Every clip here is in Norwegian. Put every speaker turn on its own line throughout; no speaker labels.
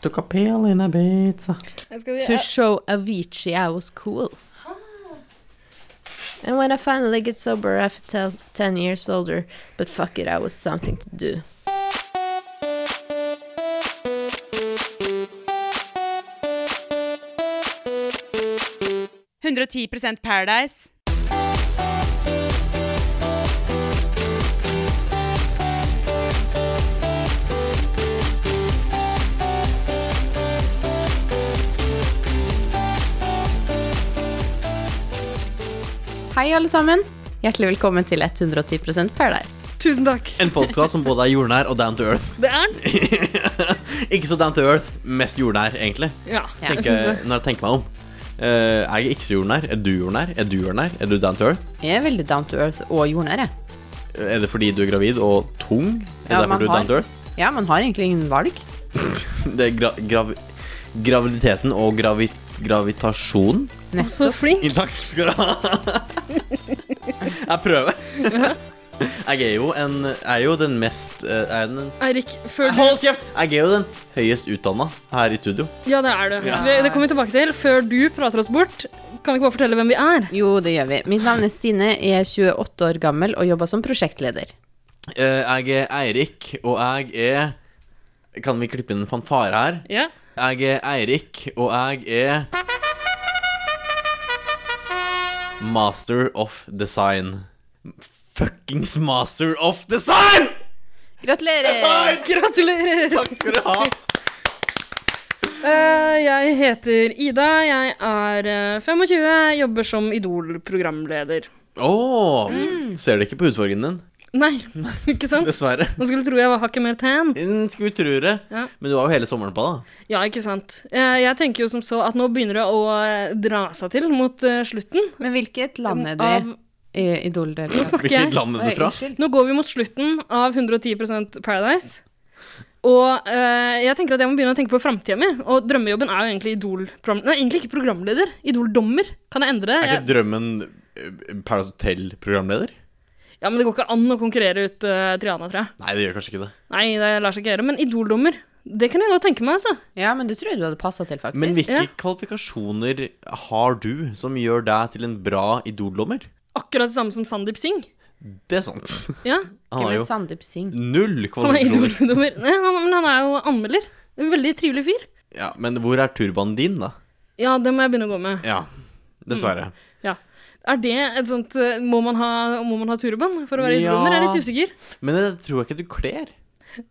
Took a pill in a pizza.
Jeg skal,
To
jeg,
show Avicii I was cool. And when I finally get sober, I feel 10 years older. But fuck it, I was something to do.
Paradise.
Hei, alle sammen. Hjertelig velkommen til 110 Paradise.
tusen takk.
En podkast som både er jordnær og down to earth.
Det er den.
Ikke så down to earth, mest jordnær, egentlig.
Ja,
Ja.
jeg
Tenker-
syns det.
når jeg tenker meg om. Eh, er jeg ikke så jordnær? Er du jordnær? Er du jordnær? Er du down to earth?
Jeg er veldig down to earth og jordnær, jeg.
Er det fordi du er gravid og tung? Er
Ja,
det
man
derfor du er
har-
down to earth?
Ja, man har egentlig ingen valg.
Det er gra gravi graviditeten og gravi
Altså-
gravitasjonen.
Så
Nettopp.
Altså, flink.
Takk skal du ha. Jeg prøver. Jeg er jo, en, er jo den mest eh, er den,
Eirik, før du
Hold kjeft! Jeg er jo den høyest utdanna her i studio.
Ja, det er du. Vi- Det kommer vi tilbake til. Før du prater oss bort, kan vi ikke bare fortelle hvem vi er?
Jo, det gjør vi. Mitt navn er Stine, jeg er 28 år gammel og jobber som prosjektleder.
Eh, Jeg er Eirik, og jeg er Kan vi klippe inn en fanfare her?
Ja.
Jeg er Eirik, og jeg er Master of design. Fuckings master of design!
Gratulerer!
Gratulerer!
Takk skal du ha.
Eh, jeg heter Ida, jeg er eh, 25, jobber som Idol-programleder.
Åh, Ser du ikke på hudfargen din?
Nei, ikke sant?
Dessverre.
Man skulle tro jeg var hakket mer tan.
Mm, Skulle tro det.
Ja.
Men du har jo hele sommeren på deg. da.
Ja, ikke sant. Eh, jeg tenker jo som så at nå begynner det å eh, dra seg til mot eh, slutten.
Men hvilket land er du i?
Av,
i? Idol-deltaker?
nå snakker
Hvilket
jeg.
land er
Oi,
du fra?
unnskyld.
Nå går vi mot slutten av 110 Paradise. Og eh, jeg tenker at jeg må begynne å tenke på framtida mi. Og drømmejobben er jo egentlig Idol-program... Nei, egentlig ikke programleder. Idol-dommer. Kan jeg endre det?
Er
Jeg-
ikke drømmen eh, Paradise Hotel-programleder?
Ja, men det går ikke an å konkurrere ut eh, Triana, tror jeg.
Nei, det gjør kanskje ikke det.
Nei, det lar seg ikke gjøre. Men idoldommer, det kan jeg godt tenke meg, altså.
Ja, men det tror jeg du hadde passa til, faktisk.
Men hvilke
ja.
kvalifikasjoner har du som gjør deg til en bra idoldommer?
Akkurat det samme som Sandeep Singh.
Det er sant.
Ja,
Han har
Hvem er
jo
Sandeep Singh?
null
han er
kvalifikasjoner.
idoldommer. Nei, han, men han er jo anmelder. En veldig trivelig fyr.
Ja, men hvor er turbanen din, da? Mm.
Ja, det må jeg begynne å gå med.
Ja, dessverre.
Ja. Er det et sånt eh, Må man ha, må man ha turban for å være
Ja.
idoldommer? Jeg er litt usikker.
Men det tror jeg ikke du kler,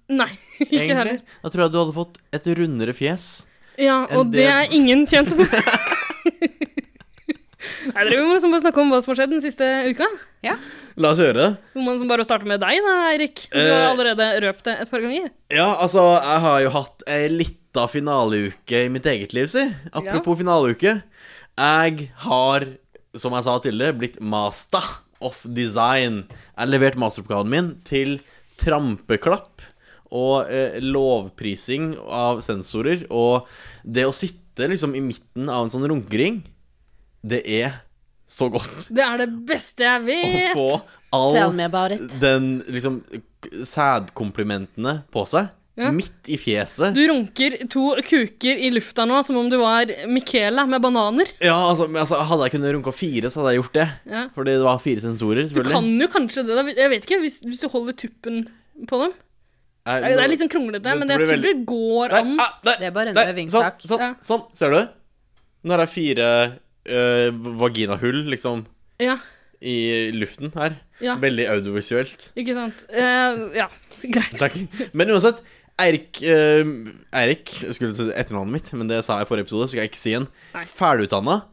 Nei, ikke
egentlig.
heller.
Da tror jeg du hadde fått et rundere fjes.
Ja,
En
og det
del-
er ingen tjent med. Nei, dere må liksom bare snakke om hva som har skjedd den siste uka.
La oss gjøre det.
Må man liksom bare starte med deg da, Eirik. Du har
Eh.
allerede røpt det et par ganger.
Ja, altså, jeg har jo hatt ei lita finaleuke i mitt eget liv, si. Apropos finaleuke. Jeg har, som jeg sa tidligere, blitt master of design. Jeg har levert masteroppgaven min til trampeklapp og eh, lovprising av sensorer. Og det å sitte liksom i midten av en sånn runkering, det er så godt
Det er det beste jeg
å
vet.
få
Tell
all
me about it.
den liksom k- sædkomplimentene på seg.
Ja.
Midt i fjeset.
Du runker to kuker i lufta nå, som om du var Michaela med bananer.
Ja, altså, men altså, Hadde jeg kunnet runka fire, så hadde jeg gjort det.
Ja.
Fordi det var fire sensorer.
Du
selvfølgelig
kan jo kanskje det, da. Jeg vet ikke, hvis, hvis du holder tuppen på dem.
Jeg-
Det er
nå-
litt sånn kronglete,
Dette
men jeg
blir
tror det går
Nei,
an.
ah, nei,
Det er bare en
nei,
øvingssak.
Sånn, sånn,
Ja.
sånn, ser du? Nå har jeg fire eh, vaginahull, liksom,
Ja,
i luften her.
Ja.
Veldig audiovisuelt.
ikke sant. Eh, ja, greit.
Takk. Men uansett, Eirik eh, Eirik jeg skulle si etternavnet mitt, men det sa jeg i forrige episode, så skal jeg ikke si igjen.
Nei.
Ferdigutdanna.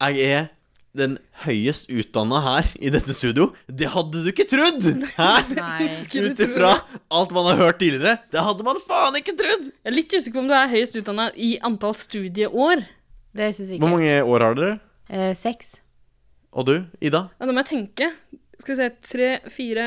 Jeg er den høyest utdanna her i dette studio. Det hadde du ikke trodd! Hæ?
Nei.
Skulle
Ut
tro
ifra
det.
alt man har hørt tidligere. Det hadde man faen ikke trodd!
Jeg er litt usikker på om du er høyest utdanna i antall studieår.
Det syns jeg
Hvor
ikke.
mange år har dere?
Eh, seks.
Og du, Ida?
Ja, det må jeg tenke. Skal vi se, tre, fire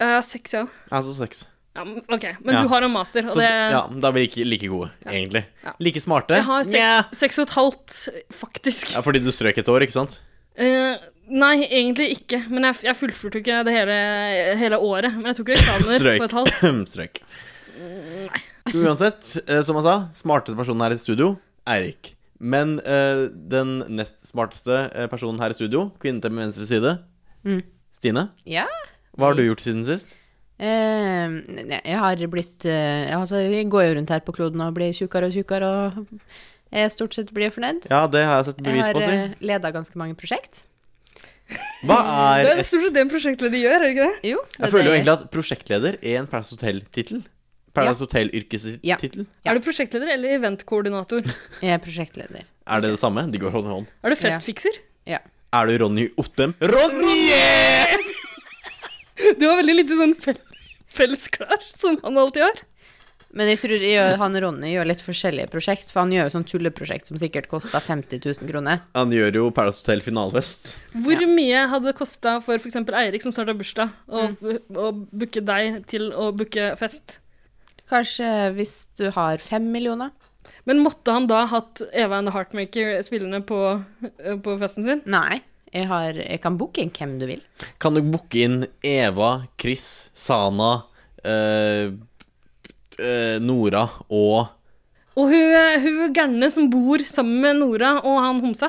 eh, Seks, ja.
Jeg er så seks.
ja. men- OK. Men
Ja.
du har en master,
Så
og det
ja, da er vi like, like gode, egentlig.
Ja.
Like smarte.
Jeg har seks,
Nja.
seks og et halvt, faktisk.
Ja, fordi du strøk et år, ikke sant?
Eh, nei, egentlig ikke. Men jeg, jeg fullførte jo ikke det hele, hele året. Men jeg tok jo eksamener
Strøyk.
på et halvt.
strøk. Uansett, eh, som han sa, smarteste personen her i studio, Eirik. Men eh, den nest smarteste eh, personen her i studio, kvinnen til min venstre side,
Mm.
Stine.
Ja.
Hva har du gjort siden sist?
Eh, ne- jeg har blitt eh, altså, Vi går jo rundt her på kloden og blir tjukkere og tjukkere og jeg stort sett blir fornøyd.
Ja, det har jeg sett
Jeg
bevis
har
på, si.
eh, leda ganske mange prosjekt.
Hva
Det
er
er stort sett det en prosjektleder gjør, er det ikke det?
Jo, det
Jeg
er
føler jo
det-
egentlig at prosjektleder er en Paradise Hotel-tittel. Paradise
Ja.
Hotel-yrkestittel.
Ja.
Er du prosjektleder eller eventkoordinator?
Jeg er prosjektleder.
Er det det samme? De går hånd i hånd.
Er du festfikser?
Ja.
Er du Ronny Ottem? Ronny!
Du har veldig lite sånn pel pelsklær, som han alltid har.
Men jeg tror jeg, gjør- han Ronny gjør litt forskjellige prosjekt, for han gjør jo sånn tulleprosjekt som sikkert kosta 50 000 kroner.
Han gjør jo Paradise Hotel finalefest.
Hvor mye hadde det kosta for f.eks. Eirik, som snart har bursdag, å, å booke deg til å booke fest?
Kanskje hvis du har fem millioner?
Men måtte han da hatt Eva and the Heartmaker spillende på, eh, på festen sin?
Nei. Jeg, har, jeg kan booke inn hvem du vil.
Kan du booke inn Eva, Chris, Sana, eh, eh, Nora og
Og hun, hun gærne som bor sammen med Nora og han homsa.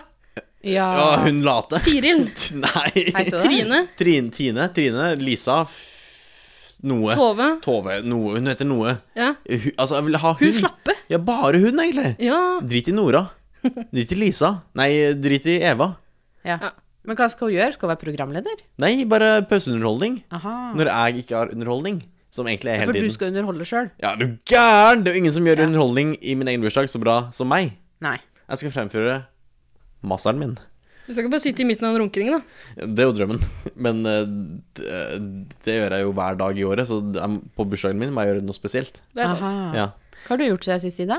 Ja,
Ja,
hun late.
Tiril.
Nei.
Heter hun det?
Trine.
Trine, Tine, Trine, Lisa f Noe.
Tove.
Tove. Noe. Hun heter Noe.
Ja.
Hun, altså, jeg ville ha hun.
Hun slappe.
Ja, bare hun, egentlig.
Ja.
Drit i Nora. Drit i Lisa. Nei, drit i Eva.
Ja. Men hva skal hun gjøre? Skal hun være programleder?
Nei, bare pauseunderholdning.
Aha.
Når jeg ikke har underholdning. Som egentlig er
For
hele
du
tiden.
skal underholde sjøl?
Ja, er du gæren! Det er jo ingen som gjør underholdning i min egen bursdag så bra som meg.
Nei.
Jeg skal fremføre masteren min.
Du skal ikke bare sitte i midten av en runkering, da.
Det er jo drømmen. Men eh, det, det gjør jeg jo hver dag i året, så det er- på bursdagen min må jeg gjøre noe spesielt.
Det er sant.
Aha.
Ja.
Hva har du gjort siden sist, Ida?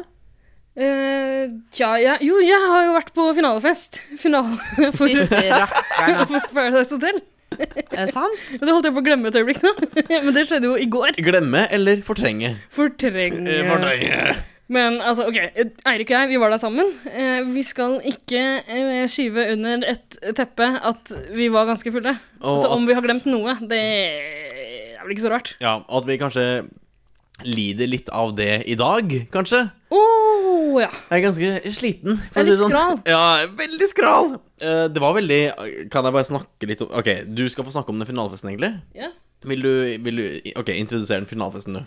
Eh, tja, jeg, jo, jeg har jo vært på finalefest. Finale for,
Fytti rakkeren, ass.
for Paradise Hotel.
Er det sant?
Det holdt jeg på å glemme et øyeblikk nå. Men det skjedde jo i går.
Glemme eller fortrenge? Eh,
Fortrenge.
Fortrenge.
Men altså, OK. Eirik og jeg, vi var der sammen. Eh, Vi skal ikke eh, skyve under et teppe at vi var ganske fulle.
Og
Så om
at-
vi har glemt noe, det er vel ikke så rart.
Ja, og at vi kanskje lider litt av det i dag, kanskje.
Å ja.
Jeg er ganske sliten. for
Jeg er
å si det sånn.
litt skral.
Ja, jeg er veldig skral. Eh, Det var veldig Kan jeg bare snakke litt om Ok, du skal få snakke om den finalefesten, egentlig.
ja.
Vil du, vil du Ok, introdusere den finalefesten, du.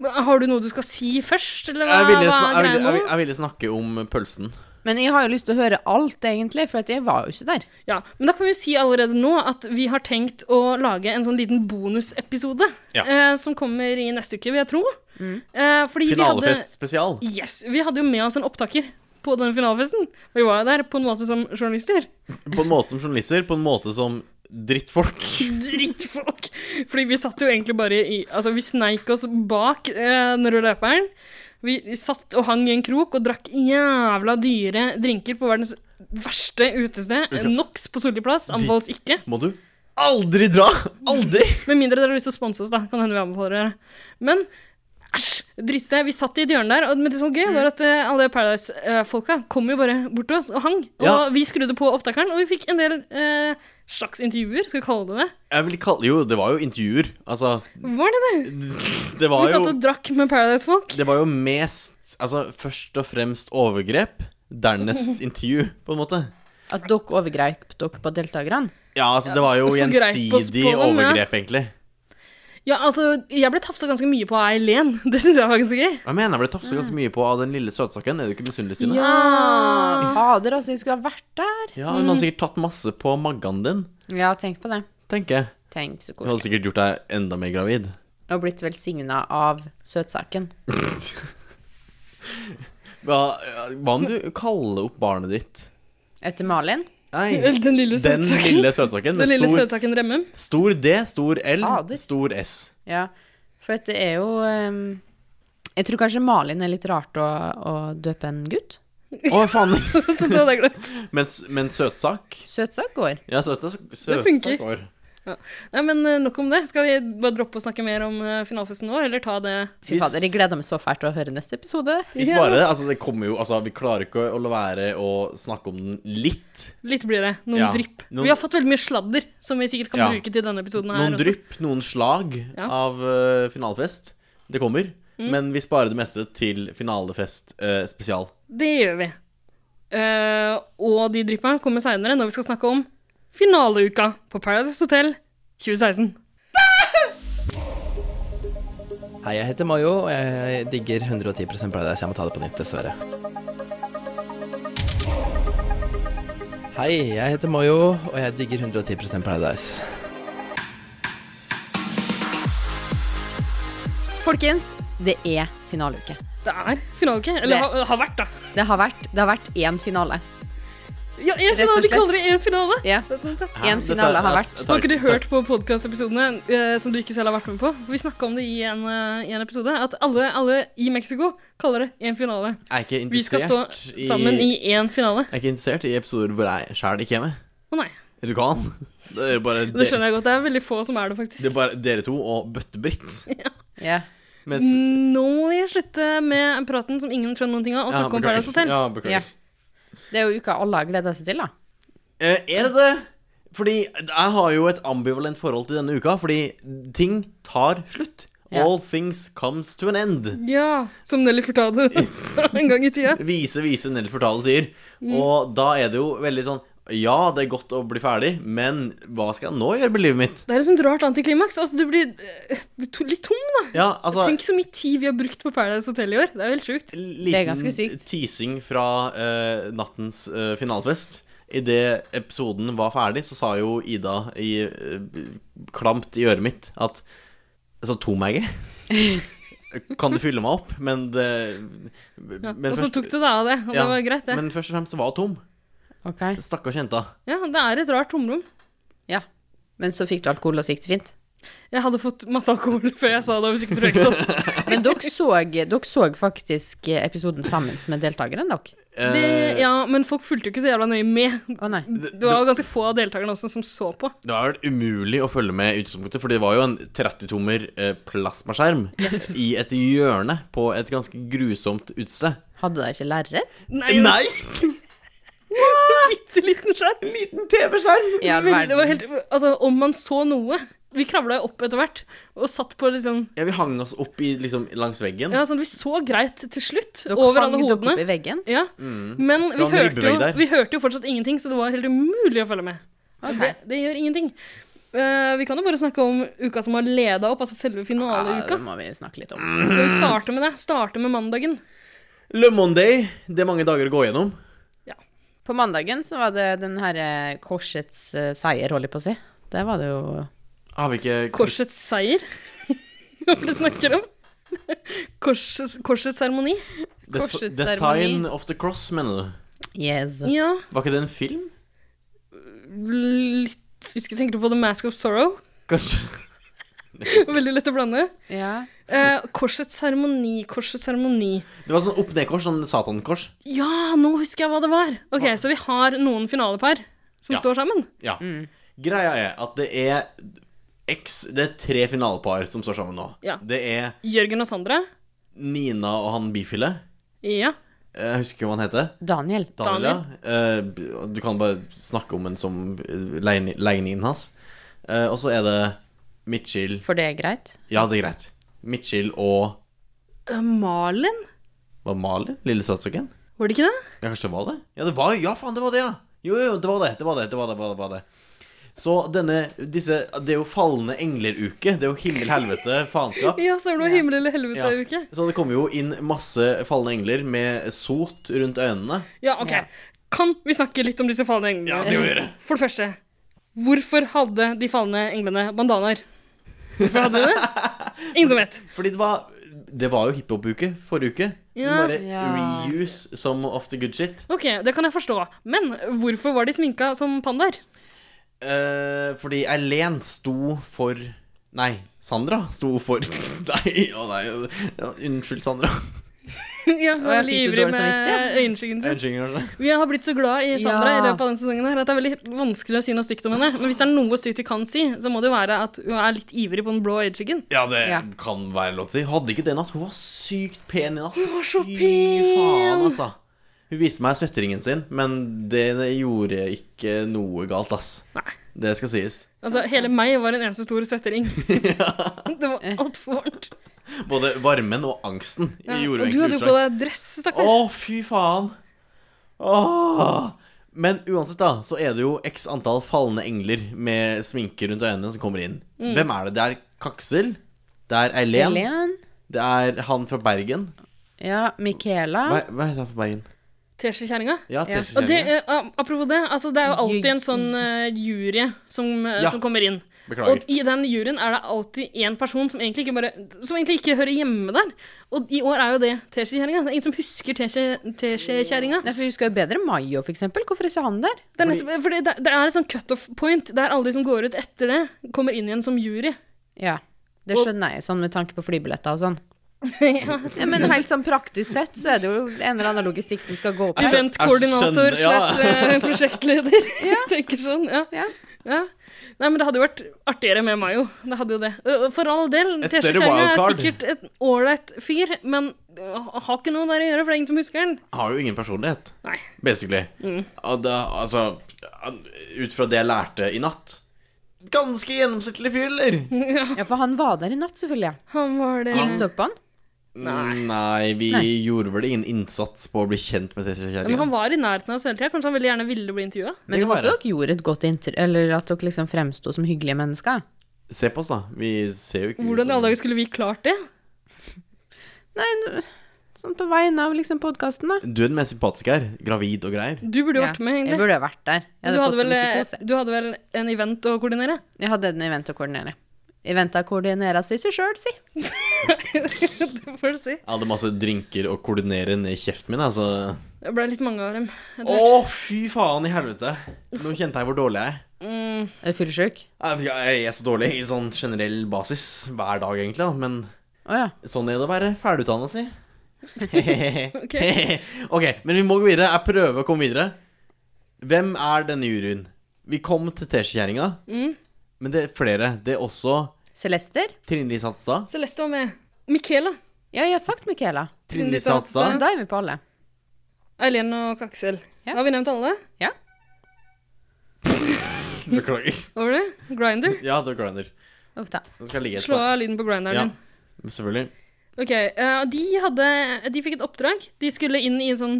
Men Har du noe du skal si først, eller hva,
Jeg ville,
hva
sna
er
jeg, ville,
greia
jeg,
nå?
ville, jeg ville snakke om pølsen.
Men jeg har jo lyst til å høre alt, egentlig, for at jeg var jo ikke der.
Ja, men da kan vi jo si allerede nå at vi har tenkt å lage en sånn liten bonusepisode
Ja. Mm.
eh, som kommer i neste uke, vil jeg tro. Eh, fordi
Finalefest spesial.
Vi hadde, yes, vi hadde jo med oss en opptaker på den finalefesten. Og vi var jo der på en måte som journalister.
På en måte som journalister, på en måte som drittfolk.
Drittfolk! Fordi vi satt jo egentlig bare i Altså, vi sneik oss bak eh, den røde løperen. Vi satt og hang i en krok og drakk jævla dyre drinker på verdens verste utested. NOx på Solli plass anbefales ikke.
Må du aldri dra! Aldri!
Med mindre dere har lyst til å sponse oss, da. Kan hende vi anbefaler dere. Men æsj! Drittsted. Vi satt i et hjørne der, og men det som var gøy, var at eh, alle Paradise-folka kom jo bare bort til oss og hang. Og
Ja.
vi skrudde på opptakeren, og vi fikk en del eh, slags intervjuer, skal vi kalle det det.
Jeg vil kalle Jo, det var jo intervjuer. Altså,
Var det det?
det var
Vi
jo
satt og drakk med Paradise-folk.
Det var jo mest Altså først og fremst overgrep, dernest intervju, på en måte.
At dere overgrep dere på deltakerne.
Ja, altså det var jo
Ja, forgrep oss på
gjensidig
dem, ja.
overgrep, egentlig.
Ja, altså, jeg ble tafsa ganske mye på av Eileen. Det syns jeg var ganske gøy.
Jeg mener jeg ble tafsa ganske
Mm.
mye på av den lille søtsaken. Er du ikke misunnelig, Stine?
Ja.
Fader, altså, jeg skulle ha vært der.
Ja,
Mm.
hun har sikkert tatt masse på maggan din,
Ja, tenk på det.
tenker jeg.
Tenk så
Hun hadde
koselig.
sikkert gjort deg enda mer gravid.
Og blitt velsigna av søtsaken.
Hva, hva om du kaller opp barnet ditt?
Etter Malin.
Nei,
Den lille
den
søtsaken.
lille søtsaken
Den
med
lille
stor,
søtsaken Remmum.
stor D, stor L,
Fader.
stor S.
Ja, for at det er jo ehm, Jeg tror kanskje Malin er litt rart å, å døpe en gutt.
Å, faen!
Så det hadde jeg glemt.
Men, men søtsak?
Søtsak går.
Ja, søtsak, søtsak
Det funker.
går.
Nei, men eh, nok om det. Skal vi bare droppe å snakke mer om eh, finalefesten nå, eller ta det
Fy fader, jeg gleder meg så fælt til å høre neste episode.
Vi sparer det. Altså, det kommer jo Altså, vi klarer ikke å la være å snakke om den litt.
Litt blir det. Noen
Ja.
drypp.
Noen-
Vi har fått veldig mye sladder, som vi sikkert kan
Ja.
bruke til denne episoden her.
Noen
også.
drypp, noen slag
Ja. Mm.
av eh, finalefest. Det kommer. Men vi sparer det meste til finalefest eh, spesial.
Det gjør vi. Eh, og de dryppa kommer seinere, når vi skal snakke om finaleuka på Paradise Hotel 2016.
Hei, jeg heter Mayo, og jeg digger 110 Paradise. Jeg må ta det på nytt, dessverre. Hei, jeg heter Mayo, og jeg digger 110 Paradise.
Folkens, det er finaleuke.
Det er finaleuke.
Det-
Eller har, har vært, da.
Det har vært, det har vært én finale.
Ja, én
Rett og
finale! Vi
slett.
kaller det én finale.
Ja.
Det er sant, det.
Én
Dette-
finale har
jeg-
vært.
jeg tar-
Har ikke du hørt på podkastepisodene eh, som du ikke selv har vært med på? Vi snakka om det i en, eh, i en episode. At alle, alle i Mexico kaller det én finale.
Jeg er ikke
Vi skal stå
interessert i
sammen i én finale.
Jeg er ikke interessert i episoder hvor jeg sjæl ikke er med.
Å nei.
Er du gal? Det er jo bare,
Det
dere-
skjønner jeg godt. Det er veldig få som er det,
det
faktisk.
er bare dere to og Bøtte-Britt.
Ja.
Mens-
Nå må jeg slutte med praten som ingen skjønner noen ting av, og snakke om
beklager.
Paradise Hotel.
Ja, beklager.
Ja. Det er jo uka alle har gleda seg til, da.
Eh, er det det? Fordi jeg har jo et ambivalent forhold til denne uka, fordi ting tar slutt.
Ja.
All things comes to an end.
Ja, som Nelly fortalte oss en gang i tida.
Vise, vise, Nell Fortale sier.
Mm.
Og da er det jo veldig sånn Ja, det er godt å bli ferdig, men hva skal jeg nå gjøre med livet mitt?
Det er et sånt rart antiklimaks. Altså, du blir eh, du to- litt tom, da.
Ja, altså
Tenk så mye tid vi har brukt på Paradise Hotel i år. Det er jo helt sjukt.
Det er
Liten
ganske sykt.
teasing fra eh, nattens eh, finalefest. Idet episoden var ferdig, så sa jo Ida i, eh, klamt i øret mitt at Så tom er jeg ikke. Kan du fylle meg opp? Men det
Ja.
men,
Og så
først-
tok du deg av det, og
Ja,
det var greit, det.
men først og fremst så var hun tom.
Ok.
Stakkars jenta.
Ja, det er et rart tomrom.
Ja. Men så fikk du alkohol, og så gikk det fint.
Jeg hadde fått masse alkohol før jeg sa det, hvis ikke du røyka det.
Men dere så, dere så faktisk episoden sammen med deltakerne, dere.
Eh,
Ja, men folk fulgte jo ikke så jævla nøye med.
Å nei.
Det var jo ganske få av deltakerne også som så på.
Det var vel umulig å følge med i utgangspunktet, for det var jo en 30-tommer eh, plasmaskjerm i et hjørne på et ganske grusomt utested.
Hadde de ikke lerret?
Nei!
Nei!
Bitte liten skjerm.
Liten TV-skjerm!
I all
Veldig- Det var
verden.
helt, altså, om man så noe Vi kravla jo opp etter hvert, og satt på litt sånn
Ja, vi hang oss opp i, liksom, langs veggen.
Ja, sånn, vi så greit til slutt
Dere
over
hang
alle
dere opp
hodene.
i veggen.
Ja. Men
Det
vi
var en
hørte,
ribbevegg
jo,
der.
vi hørte jo fortsatt ingenting, så det var helt umulig å følge med.
Ok.
Det, det gjør ingenting. Eh, vi kan jo bare snakke om uka som har leda opp, altså selve
Ja,
finaleuka.
det må vi snakke litt om.
Skal vi starte med det? Starte med mandagen.
Le Monday, det er mange dager å gå gjennom.
På mandagen så var det den herre korsets eh, seier, holder jeg på å si. Det var det jo
Har vi ikke
Korsets seier. Hva er det du snakker om? Korsets, korsets seremoni.
Des
korsets
Design
seremoni?
of the Cross, mener du?
Yes.
Ja,
Var ikke det en film?
litt Husker tenker du på The Mask of Sorrow?
Kanskje
Veldig lett å blande.
Ja.
Eh, korsets seremoni, korsets seremoni.
Det var sånn opp-ned-kors, sånn satankors.
Ja, nå husker jeg hva det var. Ok, Så vi har noen finalepar som
Ja.
står sammen.
Ja. Greia er at det er X, det er tre finalepar som står sammen nå.
Ja.
Det er
Jørgen og Sandra.
Nina og han bifile.
Ja.
Jeg husker ikke hva han heter.
Daniel.
Daniel. ja. Eh, du kan bare snakke om den som eh, legning- legningen hans. Eh, og så er det Mitchell
For det er greit?
Ja, det er greit. Mitchell og
Eh, Malin?
Var Malin? Lille søsterken?
Var det ikke det?
Ja, kanskje det var det? Ja, det var ja, faen, det var det, ja. Jo, jo, det var det. Det var det. det, var det, det, var det, det, var det. Så denne disse, Det er jo fallende engler-uke. Det er jo himmel, helvete, faenskap.
Ja, så er det noe himmel eller helvete-uke.
Ja. Så det kommer jo inn masse fallende engler med sot rundt øynene.
Ja. ok.
Ja.
Kan vi snakke litt om disse falne englene? For det første, hvorfor hadde de falne englene bandanaer? Hvorfor hadde de det? Ingen som vet.
Fordi det var Det var jo hiphop-uke forrige uke. Så
Ja.
bare
Ja.
reuse some of the good shit.
Ok, Det kan jeg forstå, men hvorfor var de sminka som pandaer?
Eh, fordi Eileen sto for Nei, Sandra sto for Nei, å nei. ja, Unnskyld, Sandra.
ja,
Og jeg
veldig
fikk jo
ivrig
dårlig
med øyenskyggen sin.
Unnskyld, kanskje.
Vi har blitt så glad i Sandra
Ja.
i løpet av denne sesongen her, at det er veldig vanskelig å si noe stygt om henne. Men hvis det er noe stygt vi kan si, så må det jo være at hun er litt ivrig på den blå edgingen.
Ja, det
Ja.
kan være lov til å si. Hadde ikke det i natt. Hun var sykt pen i natt. Hun
var så
faen,
pen!
altså. Hun viste meg svetteringen sin, men det gjorde ikke noe galt, ass.
Nei.
Det skal sies. Eh.
Altså, hele meg var en eneste stor svettering. det var altfor varmt.
Både varmen og angsten
Ja,
gjorde
og du
jo egentlig
hadde jo på
utslag.
deg dress,
Å,
stakkar.
fy faen. Åh. Men uansett, da, så er det jo x antall falne engler med sminke rundt øynene som kommer inn.
Mm.
Hvem er det? Det er Kaksel. Det er Eileen.
Helen.
Det er han fra Bergen.
Ja, Michaela.
Hva, hva heter han fra Bergen?
Teskjekjerringa.
Ja,
Ja.
Tesje
Og det,
Kjellingen.
eh, a- apropos det, altså det er jo alltid en sånn eh, jury som, eh,
Ja.
som kommer inn.
Beklager.
Og i den juryen er det alltid én person som egentlig ikke, bare, som egentlig ikke hører hjemme der. Og i år er jo det Teskjekjerringa. Det er ingen som husker teskje- Teskjekjerringa.
Nei, for Vi husker jo bedre Mayo, for eksempel. Hvorfor er ikke han der?
Det er, nettopp, fordi det, det er et sånn cutoff point der alle de som går ut etter det, kommer inn igjen som jury.
Ja, det
Og-
skjønner jeg, sånn med tanke på flybilletter og sånn.
ja.
Ja, men helt sånn praktisk sett så er det jo en eller annen logistikk som skal gå opp. her.
Eventkoordinator
jeg skjønner, ja.
slash eh, prosjektleder. Tenker sånn, ja.
Ja.
Ja. Nei, men det hadde jo vært artigere med Mayo. Det hadde jo det. Ø, For all del,
Et større
Tesje-Kjerringa er
wildcard.
sikkert et ålreit fyr, men ø, har ikke noe der å gjøre, for det er ingen som husker den.
Har jo ingen personlighet,
Nei.
basically.
Mm.
Og da, altså Ut fra det jeg lærte i natt Ganske gjennomsnittlig fyr, eller?
Ja, for han var der i natt, selvfølgelig.
Han var det.
Ingen så på han.
Nei, vi gjorde vel ingen innsats på å bli kjent med
Ja, Men
Tesje-kjerringa.
han var i nærheten av oss hele tida. Kanskje han veldig gjerne ville bli intervjua?
Men
Det
du
kan
håper
være.
dere gjorde et godt inntrykk, eller at dere liksom fremsto som hyggelige mennesker.
Se på oss, da. Vi ser jo ikke sånn. ut
Hvordan i
som-
alle dager skulle vi klart det?
Nei, n- sånn på vegne av liksom podkasten, da.
Du er den mest sympatiske her. Gravid og greier.
Du burde jo vært med,
Jeg
egentlig.
burde vært der. Jeg
Du
hadde eh,
hadde,
fått så
vel, eh,
mye psykose.
du hadde vel en event å koordinere?
Jeg hadde en event å koordinere. Eventa koordinera seg seg sjøl, si.
Det får du si.
Jeg hadde masse drinker å koordinere ned i kjeften min, altså.
Det ble litt mange av dem. etter
Å,
hvert.
fy faen i helvete. Nå kjente jeg hvor dårlig jeg er.
Mm.
Er du fyllesyk?
Jeg- Jeg er så dårlig i sånn generell basis hver dag, egentlig, da. Men
Å ja.
sånn er det å være ferdigutdanna, si.
Ok.
ok, men vi må gå videre. Jeg prøver å komme videre. Hvem er denne juryen? Vi kom til Tesjekjerringa,
Mm.
men det er flere. Det er også
Celester?
Trine Lise Hatstad.
Celeste var med. Michaela.
Ja, jeg har sagt Michaela.
Trine Lise Hatstad.
Men Da er vi på alle.
Eileen og Kaksel.
Ja.
Har vi nevnt alle?
Beklager.
Over det? Grinder?
Ja, det var Grinder.
Uff da.
Nå skal jeg ligge et
Slå
par.
av lyden på grinderen
Ja,
din.
selvfølgelig.
Ok, eh, De hadde De fikk et oppdrag. De skulle inn i en sånn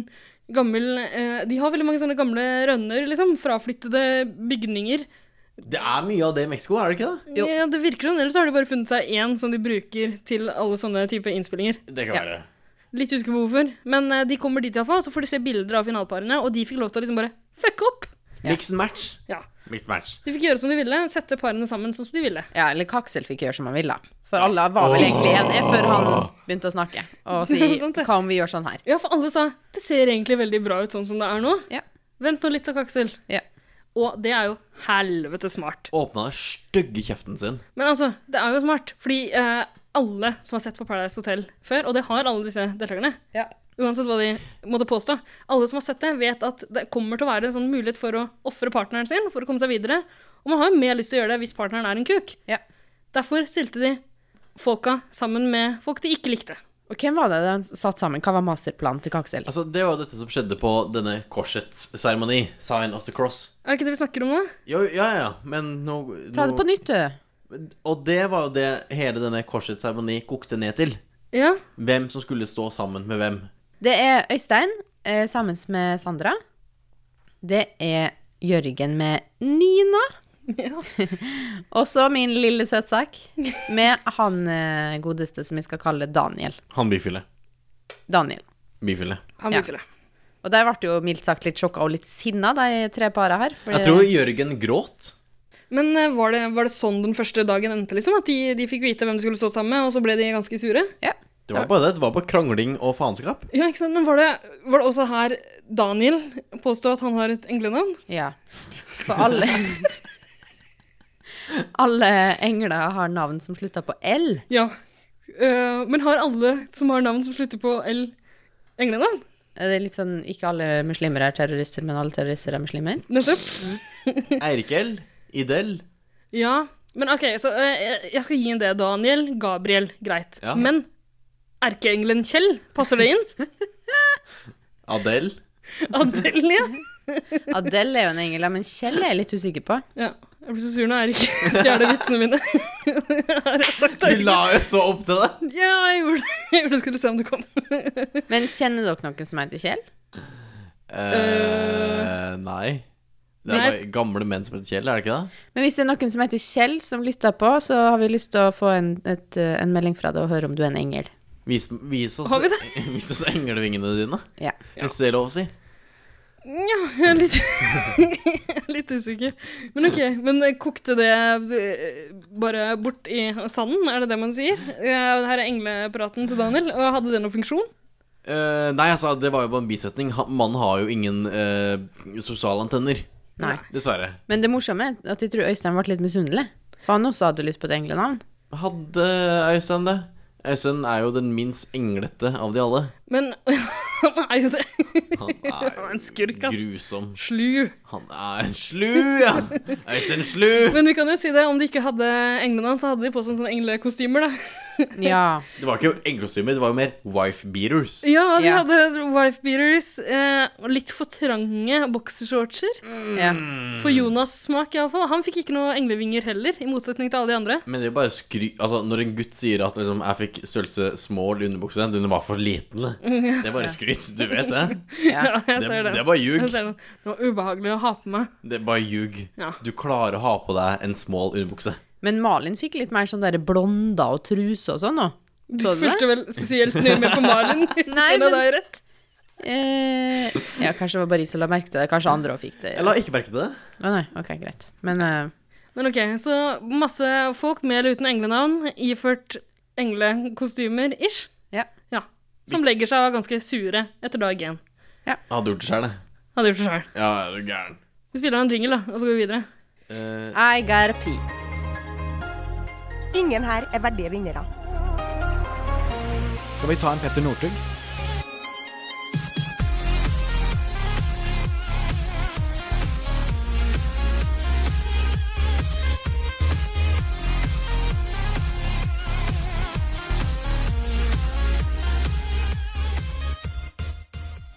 gammel eh, De har veldig mange sånne gamle rønner, liksom. Fraflyttede bygninger.
Det er mye av det i Mexico, er det ikke det?
Jo.
Ja, det virker sånn, Ellers så har de bare funnet seg én som de bruker til alle sånne type innspillinger.
Det kan være.
Litt usikker på hvorfor. Men eh, de kommer dit iallfall, så får de se bilder av finaleparene, og de fikk lov til å liksom bare fucke opp.
Ja.
Mix and match.
Ja.
Mix and match.
De fikk gjøre som de ville, sette parene sammen sånn som de ville.
Ja, eller Kaksel fikk gjøre som han ville. For alle var vel egentlig enige før han begynte å snakke og si
Det er sant, det.
hva om vi gjør sånn her.
Ja, for alle sa det ser egentlig veldig bra ut sånn som det er nå.
Ja.
Vent nå litt, sa Kaksel.
Ja.
Og det er jo helvete smart.
Åpna den stygge kjeften sin.
Men altså, det er jo smart, fordi eh, alle som har sett på Paradise Hotel før, og det har alle disse deltakerne,
Ja.
uansett hva de måtte påstå, alle som har sett det, vet at det kommer til å være en sånn mulighet for å ofre partneren sin for å komme seg videre. Og man har jo mer lyst til å gjøre det hvis partneren er en kuk.
Ja.
Derfor stilte de folka sammen med folk de ikke likte.
Og hvem var det de satt sammen? Hva var masterplanen til Kaksel?
Altså, Det var jo dette som skjedde på denne korsets seremoni. Sign of the cross.
Er det ikke det vi snakker om nå?
Jo, ja, ja, men nå,
Ta det på
nå
nytt, du.
Og det var jo det hele denne korsets seremoni kokte ned til.
Ja.
Hvem som skulle stå sammen med hvem.
Det er Øystein eh, sammen med Sandra. Det er Jørgen med Nina.
ja.
Og så min lille søtsak med han eh, godeste som vi skal kalle Daniel.
Han bifile.
Daniel.
Bifile.
Han
Ja.
bifile.
Og de ble jo mildt sagt litt sjokka og litt sinna, de tre para her. fordi-
Jeg tror Jørgen gråt.
Men eh, var det, var det sånn den første dagen endte, liksom? At de, de fikk vite hvem de skulle stå sammen med, og så ble de ganske sure?
Ja.
Det var bare det. Det var bare krangling og faenskap.
Ja, ikke sant? Men var det, var det også her Daniel påstod at han har et englenavn?
ja. For alle Alle engler har navn som slutter på L.
Ja. Eh, men har alle som har navn som slutter på L, englenavn?
Det er litt sånn Ikke alle muslimer er terrorister, men alle terrorister er muslimer.
Nettopp.
Eirik L. Idel.
Ja. Men OK, så eh, jeg skal gi en det. Daniel, Gabriel, greit.
Ja.
Men erkeengelen Kjell, passer det inn?
Adel.
Adelie?
Adele er jo en engel, ja, men Kjell er jeg litt usikker på.
Ja. Jeg blir så sur når Eirik stjeler vitsene mine. Har jeg sagt det?
Du la jo så opp til det.
Ja, jeg gjorde det. Jeg gjorde det, skulle se om det kom.
Men kjenner dere noen som heter Kjell?
Eh, nei. Det er
Nei.
bare gamle menn som heter Kjell, er det ikke det?
Men hvis det er noen som heter Kjell som lytter på, så har vi lyst til å få en, et, eh, en melding fra deg og høre om du er en engel.
Vis, vis, oss,
Har vi
vis oss englevingene dine,
Ja.
hvis det er lov å si.
Ja, jeg er litt, jeg er litt usikker. Men ok, men kokte det eh, bare bort i sanden, er det det man sier? Eh, Her er englepraten til Daniel, og hadde det noen funksjon?
Eh, nei, altså, det var jo bare en bisetning. Han- Mannen har jo ingen eh, sosiale antenner.
Nei.
Dessverre.
Men det morsomme er at jeg tror Øystein ble litt misunnelig. For han også hadde lyst på et englenavn.
Hadde Øystein det? Øystein er jo den minst englete av de alle.
Men han er jo det.
Han er
Han er en skurk, ass.
grusom.
Slu.
Han er en slu, ja! Øystein slu!
Men vi kan jo si det, om de ikke hadde englene, så hadde de på seg sånne englekostymer, da.
Ja.
Det var ikke englekostymer, det var jo mer wife beaters.
Ja, de
Ja.
hadde wife beaters, eh, og litt for trange boksershortser.
ja.
Mm.
For Jonas' smak, iallfall. Han fikk ikke noe englevinger heller, i motsetning til alle de andre.
Men det er jo bare skry... Altså, når en gutt sier at liksom, 'jeg fikk størrelse small underbukse', den var for liten, det er bare skryt. Du vet det?
Ja.
Ja, jeg
Det,
ser
det
det.
er bare ljug.
Jeg ser det. sånn, det var ubehagelig å ha på meg.
Det er bare ljug.
Ja.
Du klarer å ha på deg en small underbukse.
Men Malin fikk litt mer sånn derre blonda og truse og sånn nå.
Du
Så du det?
fulgte vel spesielt nøye med på Malin. Nei,
Nei,
men...
men-
deg rett.
Eh, ja, kanskje det var bare jeg som la merke til det. Kanskje andre òg fikk det.
Jeg la ikke merke til det.
Å nei, ok, greit. Men eh,
Men ok, så masse folk med eller uten englenavn, iført englekostymer-ish,
ja.
ja, som legger seg og er ganske sure etter dag én.
Hadde gjort det sjøl, jeg.
Hadde gjort det sjøl.
Ja, er du gæren.
Vi spiller en jingle, da, og så går vi videre.
Eh,
I got a pee.
Ingen her er verdige vinnere.
Skal vi ta en Petter Northug?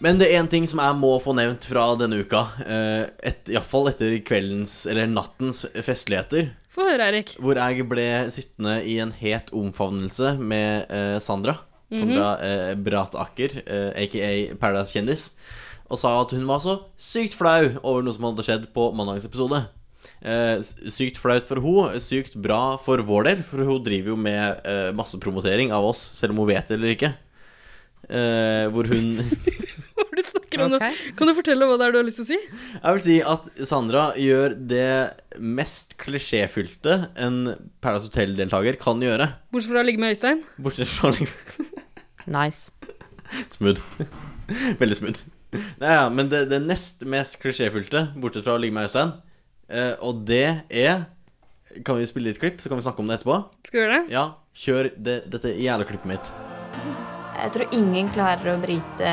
Men det er én ting som jeg må få nevnt fra denne uka, eh, et, iallfall etter kveldens, eller nattens, festligheter,
Få høre, Eirik.
hvor jeg ble sittende i en het omfavnelse med eh, Sandra. Sandra eh, Brataker, eh, aka Paradise Kjendis, og sa at hun var så sykt flau over noe som hadde skjedd på mandagens episode. Eh, s- sykt flaut for hun, sykt bra for vår del, for hun driver jo med eh, massepromotering av oss, selv om hun vet det eller ikke. Eh, hvor hun
Hva er det du snakker om
Ok.
nå? Kan du fortelle hva det er du har lyst til å si?
Jeg vil si at Sandra gjør det mest klisjéfylte en Paradise Hotel-deltaker kan gjøre.
Bortsett fra å ligge med Øystein.
Bortsett fra
Nice.
Smooth. Veldig smooth. Nei, ja, men det, det nest mest klisjéfylte, bortsett fra å ligge med Øystein, eh, og det er Kan vi spille litt klipp, så kan vi snakke om det etterpå?
Skal vi gjøre det?
Ja, kjør det, dette jævla klippet mitt.
Jeg tror ingen klarer å bryte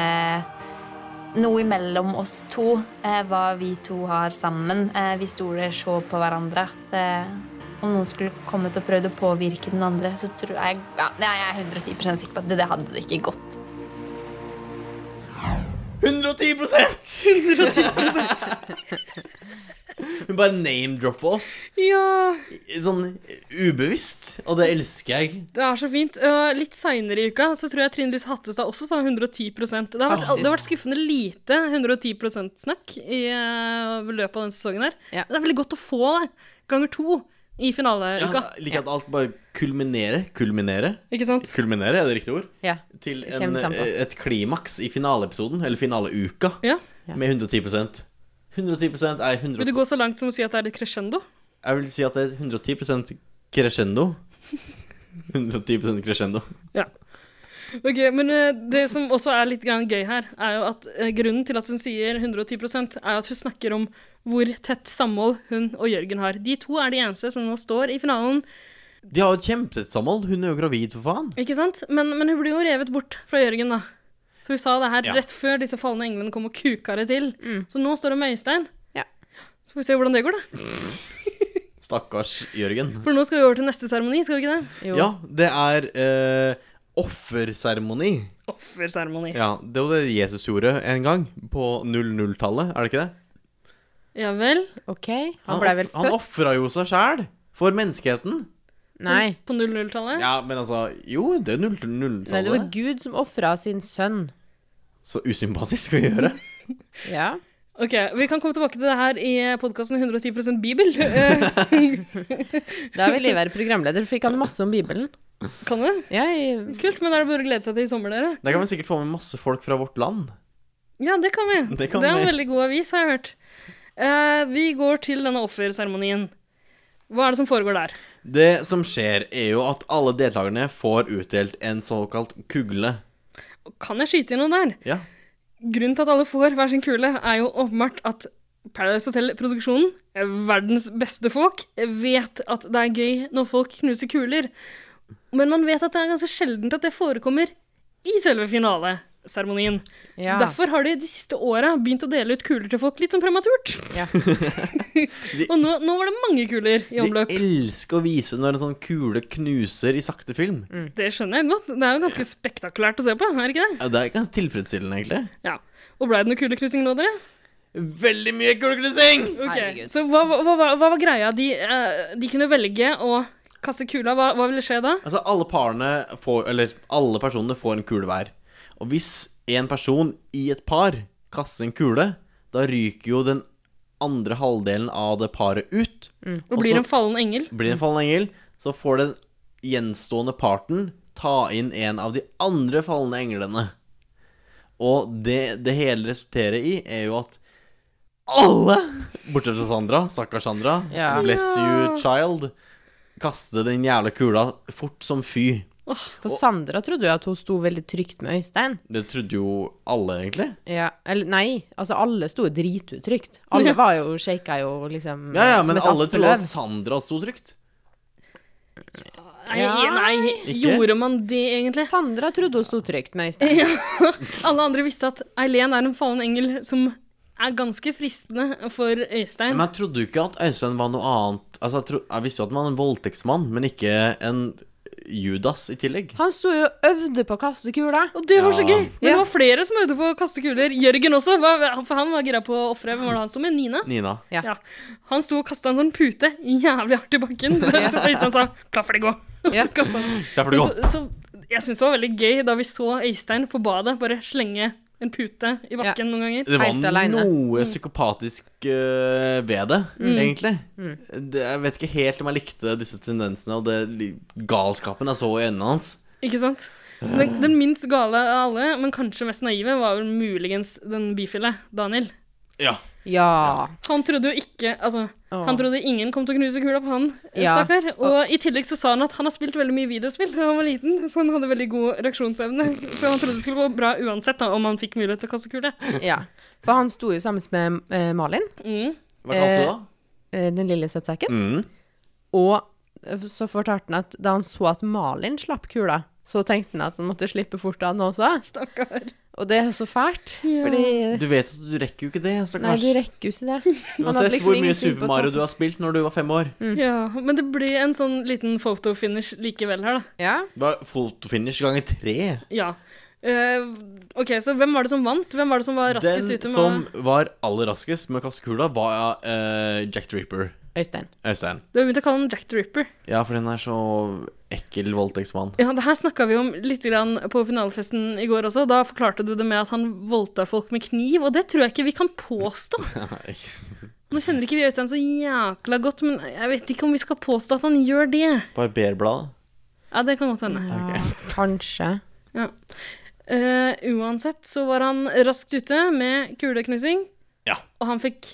noe imellom oss to. eh, Hva vi to har sammen. Eh, Vi stoler så på hverandre at eh, om noen skulle kommet og prøvd å påvirke den andre, så tror jeg ja, nei, Jeg er 110 sikker på at det, det hadde det ikke gått.
110 Hun bare name-dropper oss
Ja.
sånn ubevisst, og det elsker jeg.
Det er så fint. Og litt seinere i uka så tror jeg Trine Lise Hattestad også sa 110 Det har vært,
Faktisk.
det har vært skuffende lite 110 %-snakk i eh, løpet av denne sesongen her.
Ja.
Men det er veldig godt å få det ganger to i
Ja,
finaleuka.
jeg liker at alt bare kulminerer Kulminerer?
Ikke sant?
Kulminerer, er det riktig ord?
Ja.
Til en,
Kjem sammen.
et klimaks i finaleepisoden, eller finaleuka,
Ja.
med 110 110 er 100
Vil du gå så langt som å si at det er et crescendo?
Jeg vil si at det er 110 crescendo. 110 crescendo.
Ok, Men eh, det som også er litt grann gøy her, er jo at eh, grunnen til at hun sier 110 er at hun snakker om hvor tett samhold hun og Jørgen har. De to er de eneste som nå står i finalen.
De har jo et kjempetett samhold. Hun er jo gravid, for faen.
Ikke sant? Men, men hun blir jo revet bort fra Jørgen, da. Så hun sa det her
Ja. Mm.
rett før disse falne englene kom og kuka det til. Så nå står det med Øystein.
Ja.
Så får vi se hvordan det går, da.
Stakkars Jørgen.
For nå skal vi over til neste seremoni, skal vi ikke det?
Jo.
Ja, det er eh, offerseremoni.
Offerseremoni.
Ja, det var det Jesus gjorde en gang, på 00-tallet, er det ikke det?
Ja vel?
OK? Han
Han,
blei
off-
vel
han
født?
ofra jo seg sjæl for menneskeheten.
Nei.
På 00-tallet?
Ja, men altså Jo, det er null-
Nei, det var
nulltallet.
Gud som ofra sin sønn.
Så usympatisk å gjøre.
Ja.
Ok, Vi kan komme tilbake til det her i podkasten 110 Bibel. Eh,
Da vil jeg være programleder, for jeg kan masse om Bibelen.
kan det?
Ja, jeg,
Kult, men da er det bare å glede seg til i sommer, dere.
Der kan vi sikkert få med masse folk fra vårt land.
Ja, det kan vi.
Det kan
er en
vi.
veldig god avis, har jeg hørt. Eh, vi går til denne offerseremonien. Hva er det som foregår der?
Det som skjer, er jo at alle deltakerne får utdelt en såkalt kugle.
Kan jeg skyte inn noe der?
Ja.
Grunnen til at alle får hver sin kule, er jo åpenbart at Paradise Hotel-produksjonen, verdens beste folk, vet at det er gøy når folk knuser kuler. Men man vet at det er ganske sjeldent at det forekommer i selve finaleseremonien.
ja.
Derfor har de de siste åra begynt å dele ut kuler til folk litt sånn prematurt.
Ja.
og nå, nå var det mange kuler i
De
omløp.
elsker å vise når en sånn kule knuser i sakte film.
Det skjønner jeg godt. Det er jo ganske spektakulært å se på, er det ikke det?
Ja, Det er ganske tilfredsstillende, egentlig.
Ja. Og blei det noe kuleknusing nå, dere?
Veldig mye kuleknusing!
Ok,
Herregud.
Så hva, hva, hva, hva var greia? De, eh, de kunne velge å kaste kula. Hva, hva ville skje da?
Altså, alle parene får Eller alle personene får en kule hver. Og hvis en person i et par kaster en kule, da ryker jo den andre halvdelen av det paret ut.
Og blir
så-
en fallen engel?
Blir det en fallen engel, så får den gjenstående parten ta inn en av de andre falne englene. Og det det hele resulterer i, er jo at alle, bortsett fra Sandra, stakkars Sandra,
Ja.
bless you child, kaster den jævla kula fort som fy.
For Sandra trodde jo at hun sto veldig trygt med Øystein.
Det trodde jo alle, egentlig.
Ja. Eller nei, altså alle sto drituttrygt. Alle var jo shaka jo liksom
Ja, ja,
som
men
et
alle trodde
aspeløv.
at Sandra sto trygt.
Nei,
Ja.
nei.
Ikke?
gjorde man det egentlig?
Sandra trodde hun sto trygt med Øystein.
Alle andre visste at Eileen er en fallen engel som er ganske fristende for Øystein.
Men jeg trodde jo ikke at Øystein var noe annet. Altså, jeg, tro, jeg visste jo at han var en voldtektsmann, men ikke en Judas i tillegg.
Han sto jo og øvde på å kaste kula.
Og det var så
Ja.
gøy! Men det
Ja.
var flere som øvde på å kaste kuler. Jørgen også, var, for han var gira på å ofre. Hvem var det han sto med? Nina?
Nina.
Ja.
Ja. Han sto og kasta en sånn pute jævlig hardt i bakken. Så Øystein sa 'klar for det, gå'. Og
Ja.
så kastet han.
Derfor det
Men Så,
går.
så jeg syns det var veldig gøy da vi så Øystein på badet bare slenge en pute i bakken noen ganger.
Det
helt
var
alene. Mm.
noe psykopatisk eh, ved det, egentlig.
Mm.
Det, jeg vet ikke helt om jeg likte disse tendensene og det li- galskapen jeg så i øynene hans.
Ikke sant? Den, den minst gale av alle, men kanskje mest naive, var vel muligens den bifile, Daniel.
Ja.
Ja.
Han trodde jo ikke Altså,
Åh.
han trodde ingen kom til å knuse kula på han,
Ja.
stakkar. Og i tillegg så sa han at han har spilt veldig mye videospill da han var liten, så han hadde veldig god reaksjonsevne. Så han trodde det skulle gå bra uansett da, om han fikk mulighet til å kaste kule.
ja. For han sto jo sammen med eh, Malin,
Mm.
Hva kalte du det da?
eh, den lille søtsekken.
Mm.
Og så fortalte han at da han så at Malin slapp kula, så tenkte han at han måtte slippe fort av den også.
Stakkar.
Og det er så fælt, fordi
Du vet at du rekker jo ikke det,
eh. Nei,
stakkars.
du rekker jo ikke det. Han hadde
Uansett
liksom
hvor mye
ingenting på
Super Mario
toppen. Mm.
du har spilt når du var fem år.
Ja, men det ble en sånn liten photo-finish likevel her, da.
Ja.
Det var fotofinish ganger tre.
Ja. Eh, ok, så hvem var det som vant? Hvem var det som var raskest
Den
ute med
som var aller raskest med å kaste kula, var eh, Jack the Ripper.
Øystein.
Øystein.
Du har begynt å kalle den Jack the Ripper.
Ja, for den er så ekkel voldtektsmann.
Ja, det her snakka vi om litt grann på finalefesten i går også. Da forklarte du det med at han voldta folk med kniv, og det tror jeg ikke vi kan påstå. Nå kjenner ikke vi Øystein så jækla godt, men jeg vet ikke om vi skal påstå at han gjør det.
Barberbladet.
Ja, det kan godt hende.
Ja, kanskje.
Eh, uansett så var han raskt ute med kuleknusing,
Ja.
og han fikk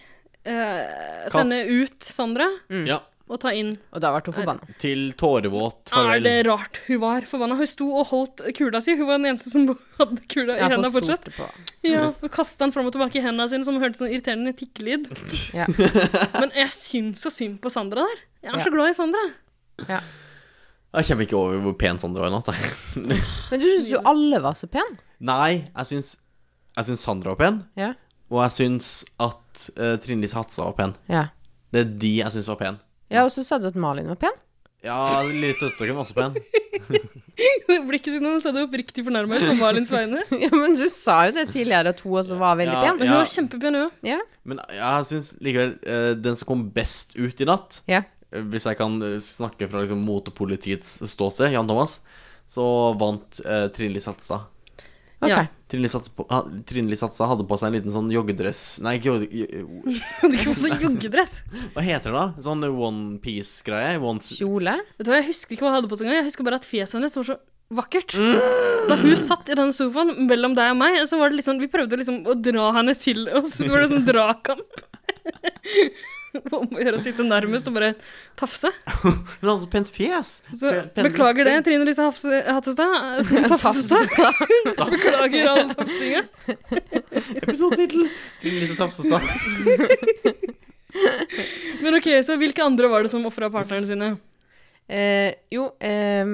eh,
Kast.
sende ut Sandra
Mm.
Ja.
og ta inn
Og da ble hun forbanna.
Til tårevåt
Er
farvel.
det rart hun var forbanna? Hun sto og holdt kula si. Hun var den eneste som hadde kula i
Ja,
hendene
for
fortsatt.
stolte på.
Ja, og Kasta den fram og tilbake i hendene sine, som hørte sånn irriterende tikkelyd.
Ja.
Men jeg syns så synd på Sandra der. Jeg er
Ja.
så glad i Sandra.
Jeg kommer ikke over hvor pen Sandra var i natt. jeg.
Men du syns jo alle var så pen.
Nei, jeg syns, jeg syns Sandra var pen,
Ja.
og jeg syns at eh, uh, Trine Lise Hatsa var pen.
Ja.
Det er de jeg syns var pen.
ja og så sa du at Malin var pen.
Ja, lille søsterken var også pen.
Blikket ditt nå så du oppriktig fornærmet på Malins vegne.
Ja, men du sa jo det tidligere at hun også var veldig
Ja.
pen.
Men hun var kjempepen, hun.
Ja.
Men jeg syns likevel eh, den som kom best ut i natt,
Ja.
eh, hvis jeg kan eh, snakke fra liksom, motepolitiets ståsted, Jan Thomas, så vant eh, Trine Lise Hatstad.
Ok.
Ja.
Trine Lise Hatstad på- ha- Trine Lise Hatstad hadde på seg en liten sånn joggedress Nei, ikke jogge...
Hun hadde ikke på seg joggedress.
Hva heter det da? Sånn onepiece-greie? One
Kjole.
Vet du hva, Jeg husker ikke hva hun hadde på seg engang. Jeg husker bare at fjeset hennes var så vakkert. Da hun satt i den sofaen mellom deg og meg, så var det liksom Vi prøvde liksom å dra henne til oss. Det var liksom dragkamp. Om å gjøre å sitte nærmest og bare tafse.
Hun hadde så altså pent fjes!
Så
Pen- pen-
beklager det, Trine Lise Hafse- Hattestad. Tafsestad. Beklager all tafsinga.
Episodetittel! Trine Lise Tafsestad.
Men ok, så hvilke andre var det som ofra partnerne sine?
Eh, jo eh,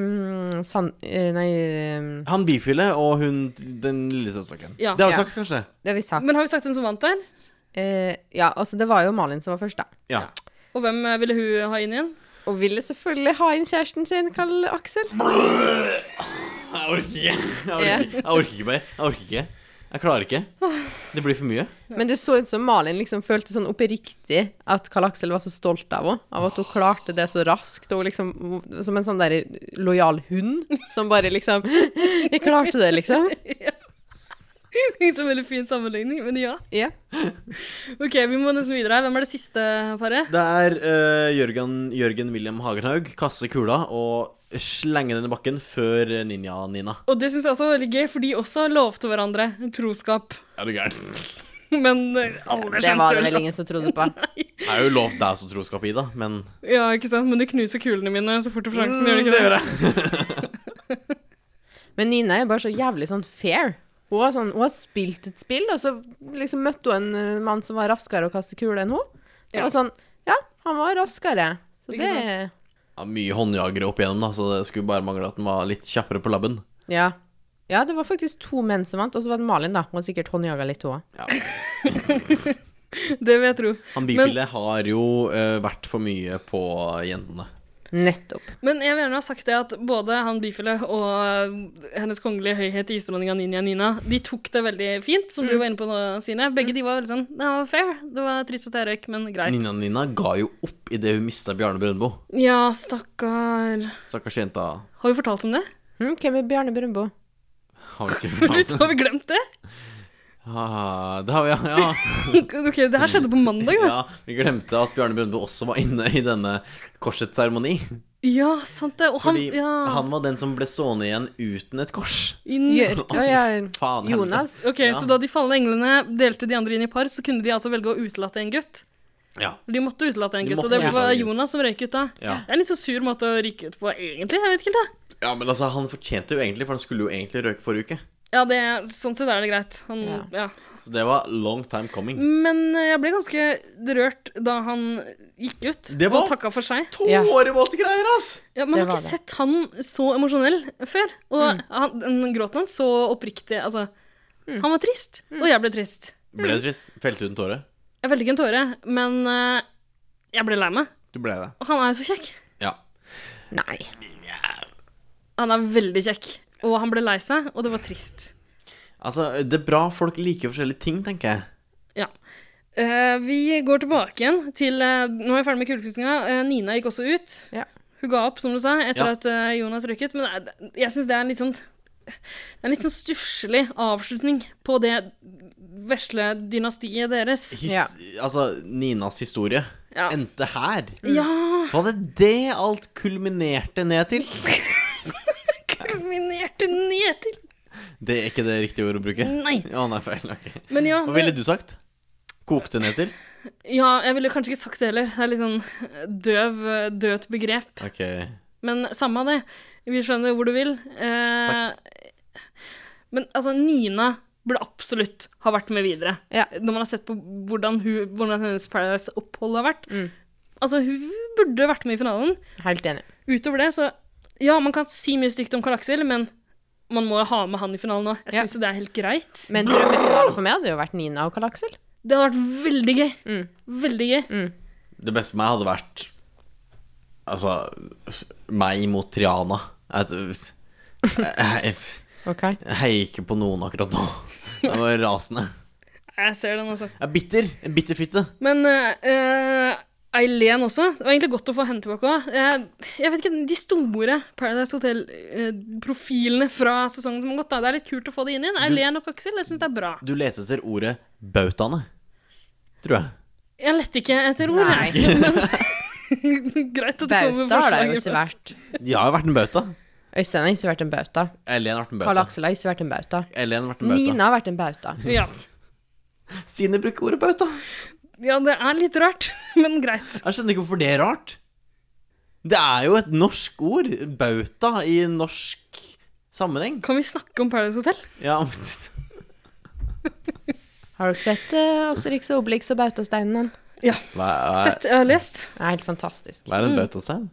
San... eh, nei eh,
Han bifile og hun den lille søsterken.
Ja.
det har vi
Ja.
sagt, kanskje?
Det har vi sagt.
Men har vi sagt hvem som vant der?
Eh, ja, altså, det var jo Malin som var først, da.
Ja.
Og hvem eh, ville hun ha inn igjen?
Og ville selvfølgelig ha inn kjæresten sin, Karl Aksel.
Jeg orker ikke. Jeg orker, ikke. jeg orker ikke mer. Jeg orker ikke. Jeg klarer ikke. Det blir for mye.
Men det så ut som Malin liksom følte sånn oppriktig at Karl Aksel var så stolt av henne. Av at hun klarte det så raskt. Og liksom, som en sånn der lojal hund som bare liksom Vi klarte det, liksom.
Egentlig en veldig fin sammenligning, men ja.
Ja.
Ok, vi må nesten videre her. Hvem er det siste paret?
Det er eh, Jørgen, Jørgen William Hagenhaug kaste kula og slenge den i bakken før eh, ninja-Nina.
Og det syns jeg også var veldig gøy, for de også lovte hverandre troskap.
Er du gæren?
Men eh, alle
Det var det
skjønte
vel ingen som trodde på.
Jeg har jo lovt deg så troskap, Ida, men
Ja, ikke sant? Men du knuser kulene mine så fort du får sjansen, gjør du ikke Mm, det?
Mm, jeg.
Men Nina er bare så jævlig sånn fair. Hun har, sånn, hun har spilt et spill, og så liksom møtte hun en eh, mann som var raskere å kaste kule enn hun. Det
Ja.
var sånn Ja, han var raskere. Så
Ikke
det
sant?
Ja, mye håndjagere opp igjennom, da, så det skulle bare mangle at den var litt kjappere på labben.
Ja. Ja, det var faktisk to menn som vant, og så var det Malin, da. Hun har sikkert håndjaga litt, hun òg.
Det vil jeg tro.
Han
Men-
bifile har jo eh, vært for mye på jentene.
Nettopp.
Men jeg vil gjerne ha sagt det at både han bifile og eh, hennes kongelige høyhet isdronninga Ninja Nina, de tok det veldig fint, som du var inne på nå, Sine. Begge de var veldig sånn Det var fair. Det var trist at jeg røyk, men greit.
Ninja-Nina ga jo opp idet hun mista Bjarne Brøndbo.
Ja, stakkar.
Stakkars jenta.
Har vi fortalt om det?
Hm, hvem er Bjarne Brøndbo?
Har vi ikke
Litt, har vi glemt det?
Ah, det har vi, ja. ja.
Ok, det her skjedde på mandag, da.
ja vi glemte at Bjarne Brøndbo også var inne i denne korsets-seremoni.
Ja, sant det. Og han,
Fordi
ja.
han var den som ble stående igjen uten et kors.
Inn-
Gjør- Å, ja.
Faen, helvete.
Jonas.
Ok, Så da de fallende englene delte de andre inn i par, så kunne de altså velge å utelate en gutt.
Ja.
De måtte utelate en
De
gutt, og
måtte
det var
utelate en gutt.
Jonas som røyk ut da.
Ja.
Det er en litt så sur måte å ryke ut på, egentlig. jeg vet ikke helt da.
ja, men altså, han fortjente jo egentlig, for han skulle jo egentlig røyke forrige uke.
Ja, det, Sånn sett er det greit. Han, ja.
Så det var long time coming.
Men eh, jeg ble ganske rørt da han gikk ut
Det var-
og takka for seg.
Ja.
Tårevåtgreier, ass!
Ja, man
Det
har ikke
var det. Mm.
sett han så emosjonell før. Og han, den gråten hans så oppriktig Altså, han var trist,
Mm.
og jeg ble trist.
Ble trist. Felte ut en tåre.
Jeg felte ikke en tåre, men eh, jeg ble lei meg.
Du ble det.
Og han er jo så kjekk.
Ja.
Nei.
Han er veldig kjekk. Og han ble lei seg, og det var trist.
Altså, det er bra folk liker forskjellige ting, tenker jeg.
Ja. Eh, vi går tilbake igjen til eh, Nå er jeg ferdig med kulekuttinga. Nina gikk også ut.
Ja.
Hun ga opp, som du sa, etter
Ja.
at eh, Jonas røyket. Men det er- jeg syns det er en litt sånn Det er en litt sånn stusslig avslutning på det vesle dynastiet deres.
His,
Ja.
Altså, Ninas historie
Ja. Mm.
endte her.
ja.
Var det det alt kulminerte ned til?
Kulminerte nedtil.
Det er ikke det riktige ordet å bruke.
Nei.
Ja, nei, feil. ok.
Men ja,
Hva
det-
ville du sagt? Kokte ned til?
ja, jeg ville kanskje ikke sagt det heller. Det er litt sånn eh, døv, eh, døvt begrep.
Ok.
Men samme av det. Vi skjønner hvor du vil. Eh, men altså, Nina burde absolutt ha vært med videre.
Ja.
Når man har sett på hvordan, hun, hvordan hennes Paradise-opphold har vært.
Mm.
Altså, hun burde vært med i finalen.
Helt enig.
Utover det, så Ja, man kan si mye stygt om Karl Aksel, men man må jo ha med han i finalen òg. Jeg
Ja.
syns jo det er helt greit.
Men drømmefinalen for meg hadde jo vært Nina og Karl Aksel.
Det
Mm.
hadde vært veldig gøy. Veldig gøy.
Det beste for meg hadde vært Altså, f- meg mot Triana. Jeg, vet- jeg, jeg
OK.
heier ikke på noen akkurat nå. Jeg var rasende.
Jeg ser den, altså.
Jeg er bitter. En bitter fitte.
Men eh, eh, Eileen også. Det var egentlig godt å få henne tilbake òg. jeg vet ikke, de store Paradise Hotel-profilene fra sesongen som har gått, da. Det er litt kult å få det inn igjen. Eileen og Aksel, jeg syns det er bra.
Du leter etter ordet bautaene, tror jeg.
Jeg lette ikke etter ord, jeg. Men greit at det kommer
Bauta har det jo ikke
forslag.
vært.
De har jo vært en bauta.
Øystein har ikke vært en bauta.
Elen har vært en
Karl
bauta.
Aksel har ikke vært en bauta.
Elen har vært en bauta.
Nina har vært en bauta.
Ja.
Sine bruker ordet bauta.
ja, det er litt rart, men greit.
Jeg skjønner ikke hvorfor det er rart. Det er jo et norsk ord. Bauta i norsk sammenheng.
Kan vi snakke om Paradise Hotel?
Ja, men-
Har dere sett uh, Asterix og Obelix og bautasteinene?
hva er,
Sett, Mm. jeg har lest.
Det er helt fantastisk.
hva er en bautastein?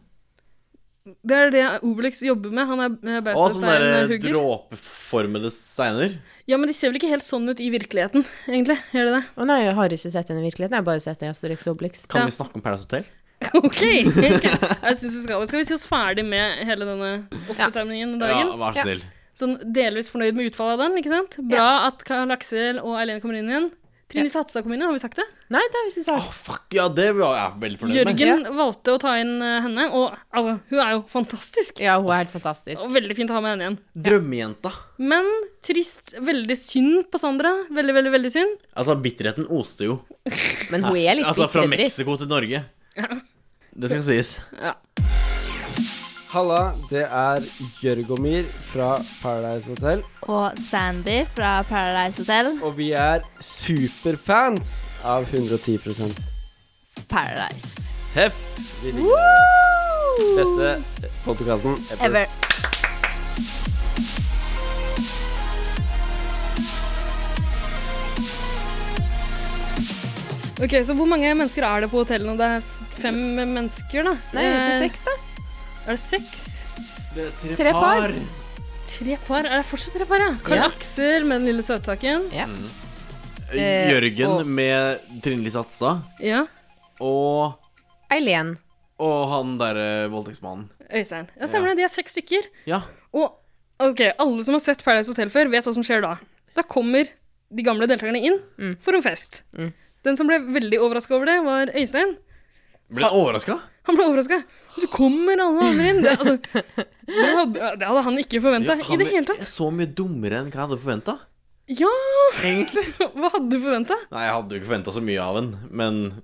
Det er det Obelix jobber med. Han er eh,
Å, sånne der
bautasteinhugger.
dråpeformede steiner.
Ja, men de ser vel ikke helt sånn ut i virkeligheten, egentlig? Gjør de det?
Å nei, jeg har ikke sett den i virkeligheten. Jeg har bare sett den i Asterix og Obelix.
Kan
Ja.
vi snakke om Paradise Hotel?
Ok! ok. Jeg synes vi skal det. Skal vi si oss ferdig med hele denne oppsamlingen og dagen?
Ja, vær så snill.
Sånn delvis fornøyd med utfallet av den, ikke sant? Bra at Karl Aksel og Eileen kommer inn igjen. Trine Satstad kom inn, har vi sagt det?
Nei, det har vi ikke
Å,
sagt.
fuck, ja, det var jeg veldig fornøyd med.
Jørgen valgte å ta inn eh, henne, og altså, hun er jo fantastisk.
Ja, hun er helt fantastisk.
Og veldig fint å ha med henne igjen.
Drømmejenta.
Men trist. Veldig synd på Sandra. Veldig, veldig, veldig synd.
Altså, bitterheten oste jo.
Men hun er litt
Altså, fra
bitterbritt.
Mexico til Norge. Det skal sies.
Halla, det er Jørgomir fra Paradise Hotel.
Og Sandy fra Paradise Hotel.
Og vi er superfans av 110
Paradise.
Seff! Vi liker dere. Beste podkasten ever.
Ever.
Ok, Så hvor mange mennesker er det på hotellet nå? Det er fem mennesker, da.
Nei, jeg
Eh,
ser seks, da.
Er det seks?
Det er
Tre par.
Tre par? Er det fortsatt tre par, ja? Karl
Ja.
Aksel med den lille søtsaken.
Eh,
Jørgen
og-
med Trine Lise Hatstad.
Ja.
Og,
Eileen.
og han derre voldtektsmannen.
Øystein. Ja, stemmer det. De er seks stykker.
Ja.
Og ok, alle som har sett Paradise Hotel før, vet hva som skjer da. Da kommer de gamle deltakerne inn for en fest. Den som ble veldig overraska over det, var Øystein.
Ble jeg overraska?
Han ble overraska. Så kommer alle andre inn. Det, altså, det, hadde, det hadde han ikke forventa i det hele tatt.
Så mye dummere enn hva jeg hadde forventa.
Ja!
Egentlig.
Hva hadde du forventa?
Nei, jeg hadde jo ikke forventa så mye av en, men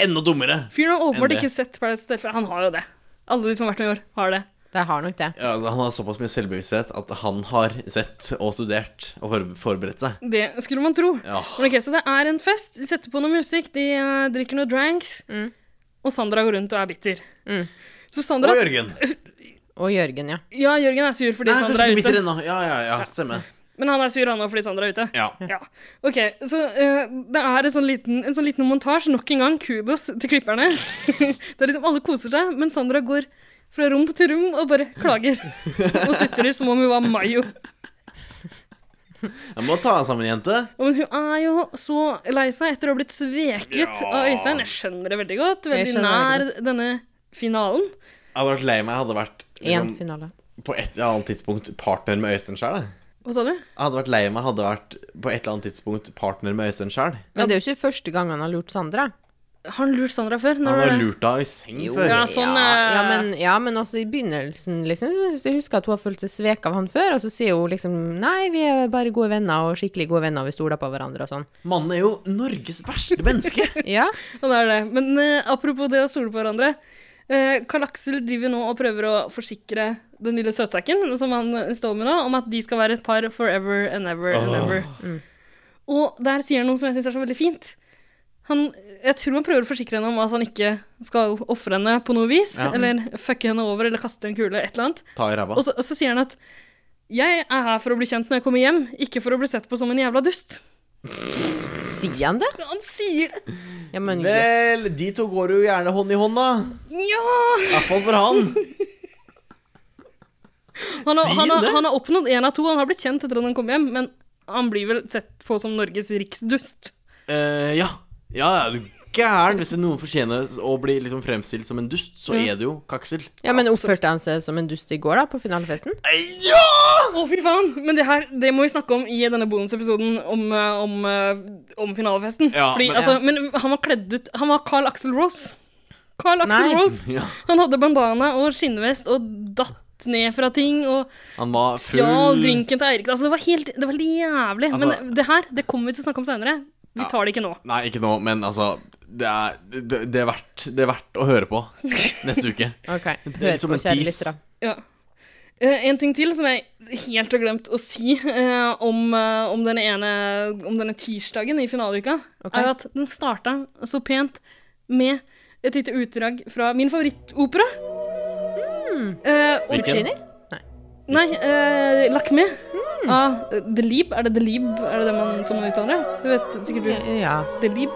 enda dummere.
Fyren har
Enn
åpenbart
det.
ikke sett Paradise Hotel før. Han har jo det. Alle de som har vært med i år, har det.
Det har nok det.
Ja, altså, han har såpass mye selvbevissthet at han har sett og studert og forb- forberedt seg.
Det skulle man tro.
Ja.
Men ok, Så det er en fest. De setter på noe musikk, de eh, drikker noe dranks. Og Sandra går rundt og er bitter. Så Sandra
Og Jørgen.
Og Jørgen, ja.
Ja, Jørgen er sur fordi
Nei,
Sandra
kanskje
er
ikke bitter
ute.
ennå. Ja, ja, ja, stemmer.
Men han er sur han òg fordi Sandra er ute.
Ja.
Ja. Ok, så eh, det er en sånn liten, en sånn liten montasje. Nok en gang kudos til klipperne. det er liksom Alle koser seg, men Sandra går fra rom til rom og bare klager. og sitter der som om hun var Mayo.
Jeg må ta deg sammen, jente.
Og Men hun er jo så lei seg etter å ha blitt sveket av Øystein. Jeg skjønner det veldig godt.
Jeg
Veldig
skjønner
nær
det
denne finalen.
Jeg hadde vært lei meg. Jeg hadde vært
Én
liksom,
finale.
på et eller annet tidspunkt partner med Øystein sjøl. Jeg
Hva sa du?
hadde vært lei meg. Hadde vært på et eller annet tidspunkt partner med Øystein sjøl.
Men det er jo ikke første gang han har lurt Sandra.
Har han lurt Sandra før? Når
Han
var
har
det?
lurt deg i seng før.
Ja, sånn
ja,
eh,
ja, men, ja, men også i begynnelsen, liksom. så synes Jeg husker at hun har følt seg svek av han før, og så sier hun liksom Nei, vi er bare gode venner, og skikkelig gode venner, og vi stoler på hverandre og sånn.
Mannen er jo Norges verste menneske.
Ja.
Ja, det er det. Men eh, apropos det å stole på hverandre. Eh, Karl Aksel driver nå og prøver å forsikre den lille søtsaken som han eh, står med nå, om at de skal være et par forever and ever and
Åh.
ever. Og der sier han noe som jeg syns er så veldig fint. Han, jeg tror han prøver å forsikre henne om at han ikke skal ofre henne på noe vis.
Ja.
Eller fucke henne over, eller kaste en kule, et eller annet.
Ta i ræva.
Og så, og så sier han at jeg er her for å bli kjent når jeg kommer hjem, ikke for å bli sett på som en jævla dust.
Sier han det?
Han sier det!
Ja, men
Vel, de to går jo gjerne hånd i hånd, da.
Ja!
I hvert fall for han.
Han har,
Si
han, har,
det.
han har oppnådd én av to. Han har blitt kjent etter at han kom hjem, men han blir vel sett på som Norges riksdust.
Eh, ja. ja. ja, gæren! Hvis det noen fortjener å bli liksom fremstilt som en dust, så
Mm.
er det jo Kaksel.
Ja, men oppførte han seg som en dust i går, da, på finalefesten?
Ja!
Å, fy faen! Men det her det må vi snakke om i denne bonusepisoden om, eh, om, eh, om finalefesten.
Ja,
Fordi,
men-
men, altså, men han var kledd ut Han var Carl Axel Rose. Carl Axel
Nei.
Rose.
Ja.
Han hadde bandana og skinnvest og datt ned fra ting og
Han var full
stjal drinken til Eirik. Altså, det var helt det var helt jævlig.
Altså-
men det her det kommer vi til å snakke om seinere. Vi tar det ikke nå.
Nei, ikke nå, men altså Det er, det, det er, verdt, det er verdt å høre på neste uke.
Ok,
Det
hør
er som
på,
en
kjære
tease.
lyttere.
Ja. Eh, en ting til som jeg helt har glemt å si eh, om, eh, om, den ene, om denne tirsdagen i finaleuka,
Ok.
er jo at den starta så pent med et lite utdrag fra min favorittopera.
Hmm.
Eh, og-
Hvilken?
nei, eh, Lakme
Hmm.
av Delib. Er det Delib? Er det det man som man uttaler det? Det vet sikkert du.
Ja,
Delib.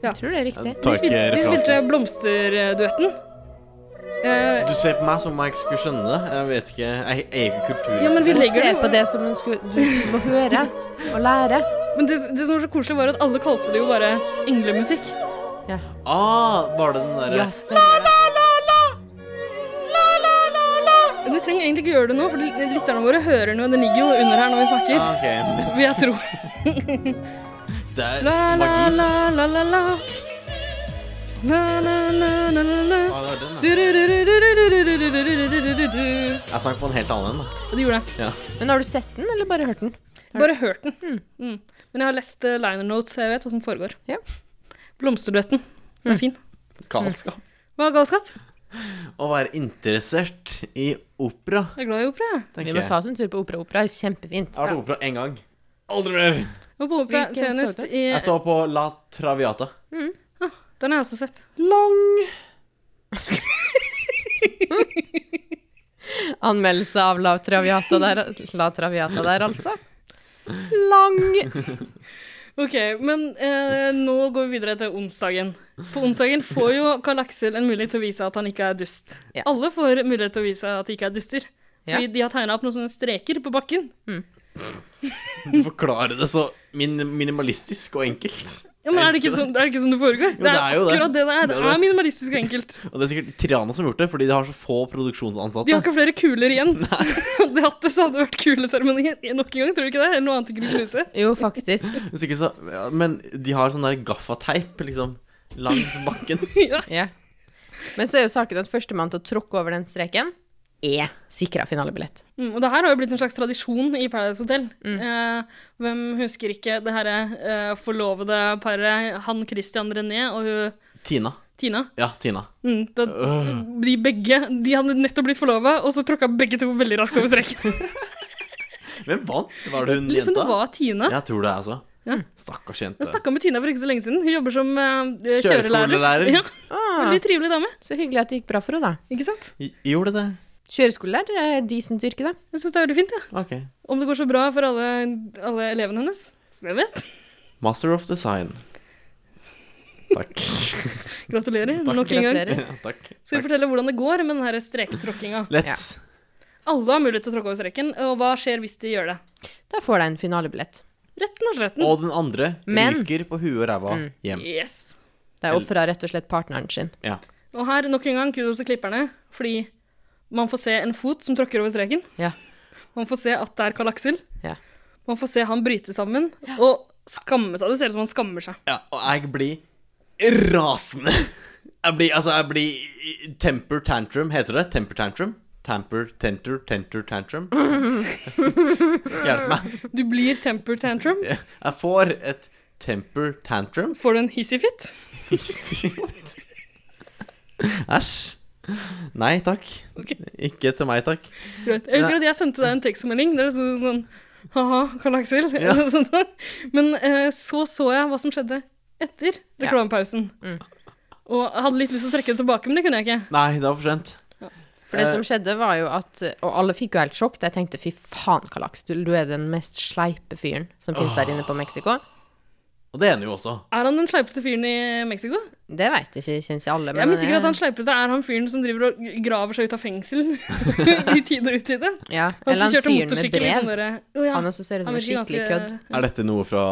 jeg tror det er riktig.
De
Tar ikke
spilte, de spilte
referansen.
Blomsterduetten. Eh,
Du ser på meg som om jeg ikke skulle skjønne det. Jeg vet ikke Jeg er ikke kultur.
ja, men vi
Du
legger
ser
det
på det som hun skulle Du må høre og lære.
Men det, det som var så koselig, var at alle kalte det jo bare englemusikk.
Ah, var det den derre
Ja, stemmer det.
Du trenger egentlig ikke gjøre det nå, for lytterne våre hører den jo. Den ligger jo under her når vi snakker.
ah, ok.
Vil jeg tro.
Det er
La, la,
magi.
la, la, la, la. La, la, la, la, la, la.
Ah, det var den, ja.
Du-du-du-du-du-du-du-du-du-du-du-du-du.
Jeg sang på en helt annen en, da.
Så du gjorde det.
Men har du sett den, eller bare hørt den?
Bare hørt den. Mm. Men jeg har lest eh, liner notes, så jeg vet hva som foregår.
Ja. Mm.
Blomsterduetten. Den er fin.
Galskap.
Hva er galskap?
Å være interessert i opera,
Jeg er glad i opera, jeg.
Vi
tenker
må
jeg.
ta oss en tur på opera. Opera er kjempefint.
Jeg har vært på opera én gang. Aldri mer.
Jeg var på opera
Hvilken
senest
så
i Ah,
Jeg så på La Traviata.
Den har jeg også sett.
Lang.
Anmeldelse av La Traviata der, La Traviata der altså. Lang.
Ok, men eh, nå går vi videre til onsdagen. På onsdagen får jo Karl Aksel en mulighet til å vise at han ikke er dust.
Ja.
Alle får mulighet til å vise at de ikke er duster.
Ja.
Fordi de har tegna opp noen sånne streker på bakken.
Du forklarer det så min minimalistisk og enkelt.
Ja, men er det,
Jeg
ikke
elsker
sånn, er det ikke sånn det foregår?
det er jo det.
akkurat det det er.
Det
Det
er det.
er minimalistisk og enkelt.
Og det er sikkert Triana som har gjort det, fordi de har så få produksjonsansatte.
De har ikke flere kuler igjen. Hadde de hatt det, så hadde det vært kuleseremoni nok en gang, tror du ikke det? Eller noe annet de kunne knuse.
Jo, faktisk.
Hvis ikke så, ja, men de har sånn der gaffateip, liksom, langs bakken.
Ja.
Ja. Men så er jo saken at førstemann til å tråkke over den streken er sikra finalebillett.
Mm, og det her har jo blitt en slags tradisjon i Paradise Hotel.
Mm.
Eh, hvem husker ikke det herre eh, forlovede paret, han Christian René og hun
Tina.
Tina.
Ja, Tina.
Mm, da, de begge De hadde nettopp blitt forlova, og så tråkka begge to veldig raskt over streken.
Hvem vant? Var det hun
Lurer på om
jenta?
det var Tina.
Jeg tror det, altså.
Ja.
Stakkars jente.
Jeg snakka med Tina for ikke så lenge siden. Hun jobber som eh,
Kjøreskolelærer.
kjøreskolelærer. Ja,
Ah,
veldig trivelig dame.
så hyggelig at det gikk bra for henne, da.
Ikke sant?
Gj- Gjorde det?
Kjøreskolelærer er et decent yrke, da.
Jeg syns det er veldig fint. Ja.
Ok.
Om det går så bra for alle, alle elevene hennes. Hvem vet?
Master of design. Takk.
Gratulerer
Takk,
nok en gang.
gratulerer.
Ja, takk.
Skal vi
takk.
fortelle hvordan det går med den her strektråkkinga?
Let's.
Alle har mulighet til å tråkke over streken, og hva skjer hvis de gjør det?
Da får de en finalebillett.
Retten og sletten.
Og den andre
Men-
ryker på huet og ræva
Mm.
hjem.
Yes.
De ofra rett og slett partneren sin.
Ja.
Og her, nok en gang, kudos til klipperne, fordi man får se en fot som tråkker over streken.
Ja.
Man får se at det er Karl Aksel.
Ja.
Man får se han bryte sammen og skamme seg. Det ser ut som han skammer seg.
Ja, og jeg blir rasende. Jeg blir, altså, jeg blir temper tantrum, heter det? Temper tantrum? Tamper, tenter, tenter, tantrum. Hjelp meg.
Du blir temper tantrum.
Jeg får et temper tantrum.
Får du en hissy fit?
Æsj. Nei takk.
Ok.
Ikke til meg, takk.
Greit. Jeg husker at jeg sendte deg en tekstmelding der det sto sånn Haha, Karl Aksel.
Ja.
eller noe sånt. Men eh, så så jeg hva som skjedde etter reklamepausen.
Mm.
Og jeg hadde litt lyst til å trekke det tilbake, men det kunne jeg ikke.
Nei, det var for sent.
For det
Eh.
som skjedde, var jo at Og alle fikk jo helt sjokk. De tenkte fy faen, Kalaks, du, du er den mest sleipe fyren som finnes der inne på Mexico.
Og det ender jo også.
Er han den sleipeste fyren i Mexico?
Det veit ikke, kjennes ikke alle.
Jeg er mistenker
jeg-
at han sleipeste er han fyren som driver og graver seg ut av fengsel i tide og utide.
eh, ja.
Han
Eller
som
han
kjørte
fyren med
motorsykkel i sånn
brev.
derre Å ja.
Han også ser ut som en
virker
skikkelig kødd.
ganske-
Er dette noe fra,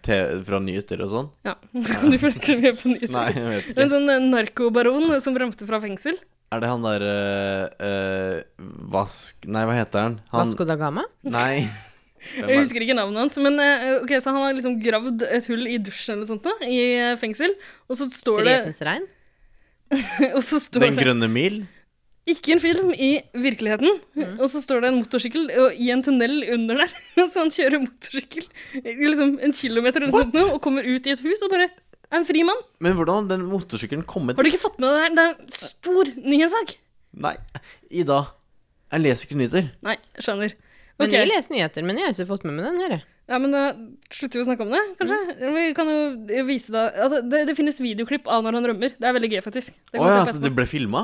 te fra nyheter og sånn?
Ja. Du følger ikke så mye på nyheter.
Nei, jeg vet
En
ikke.
sånn eh, narkobaron som rømte fra fengsel.
Er det han der eh, eh, Vask... Nei, hva heter han? han
Vasco da Gama?
Nei. Hvem
Jeg
er-
husker ikke navnet hans, men eh, ok, så han har liksom gravd et hull i dusjen eller sånt da, i eh, fengsel, og så står det,
Frihetens regn?
og så står
Den
det
grønne mil?
ikke en film i virkeligheten, og så står det en motorsykkel og, i en tunnel under der, så han kjører motorsykkel liksom en kilometer eller sånt nå, og kommer ut i et hus og bare er en fri mann.
Men hvordan har den motorsykkelen kommet
Har du ikke fått med deg det her? Det er en stor nyhetssak.
Nei, Ida. Jeg leser ikke nyheter.
Nei, skjønner.
Men
Ok.
Jeg leser nyheter, men jeg har ikke fått med meg den her. jeg.
Ja, men da slutter vi å snakke om det, kanskje?
Mm.
Vi kan jo vise deg altså, det, det finnes videoklipp av når han rømmer. Det er veldig gøy, faktisk.
Å
Det, kan vi
ja,
se
så
på
det
etterpå.
ble filma?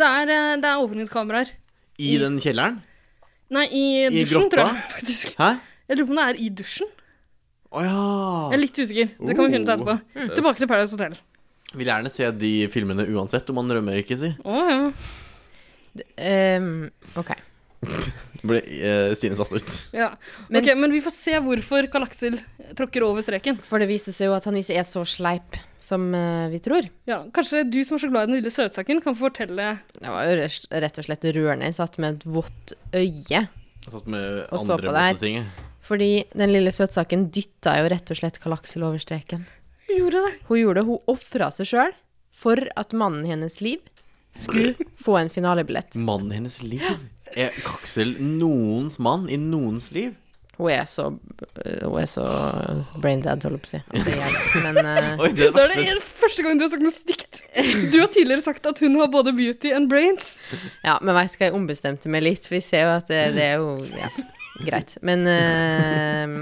det er, eh, det er overvåkningskameraer.
I den kjelleren?
Nei, i
I
dusjen,
grotta?
tror jeg. faktisk.
Hæ?
Jeg lurer på om det er i dusjen.
Å ja.
Jeg er litt usikker. Det kan vi
Oh.
finne ut etterpå. Tilbake til Paradise Hotel.
Vil gjerne se de filmene uansett, om han rømmer ikke, si.
Å, ja.
Ehm, ok.
Ble eh, Stine satt ut.
ja.
Men-
ok, men vi får se hvorfor Karl Aksel tråkker over streken.
For det viser seg jo at han ikke er så sleip som eh, vi tror.
Ja, Kanskje du som er så glad i den lille søtsaken, kan få fortelle
Det var jo res- rett og slett rørende. Jeg satt med et vått øye.
Jeg satt med
Og så på
andre
det her.
måte ting. jeg.
Fordi den lille søtsaken dytta jo rett og slett Kalaksel over streken.
Gjorde det?
Hun gjorde det. Hun ofra seg sjøl for at mannen hennes liv skulle få en finalebillett.
Mannen hennes liv. Er Kaksel noens mann i noens liv?
Hun er så øh, Hun er så brain dead, holder jeg på å si. At det hjelper, Men eh,
Oi, det er
Da er
verste.
det første gang du har sagt noe stygt. Du har tidligere sagt at hun har både beauty and brains.
ja, men veit hva, jeg ombestemte meg litt. Vi ser jo at det, det er jo Ja, greit. Men eh,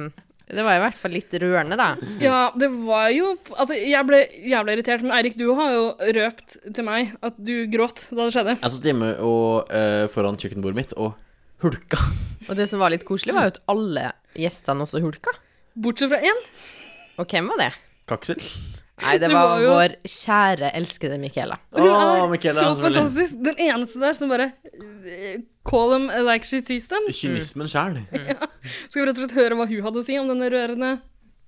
det var i hvert fall litt rørende, da.
Ja, det var jo Altså, jeg ble jævla irritert, men Eirik, du har jo røpt til meg at du gråt da det skjedde.
Jeg satt hjemme og, eh, foran kjøkkenbordet mitt og hulka.
Og det som var litt koselig, var jo at alle gjestene også hulka.
Bortsett fra én.
Og hvem var det?
Kaksel?
Nei, det,
Det
var,
var jo-
vår kjære, elskede Michaela.
Og hun
Å,
er
Michaela,
så
selvfølgelig.
fantastisk. Den eneste der som bare eh, Call them like she sees them.
Kynismen sjæl.
Skal vi rett og slett høre hva hun hadde å si om denne rørende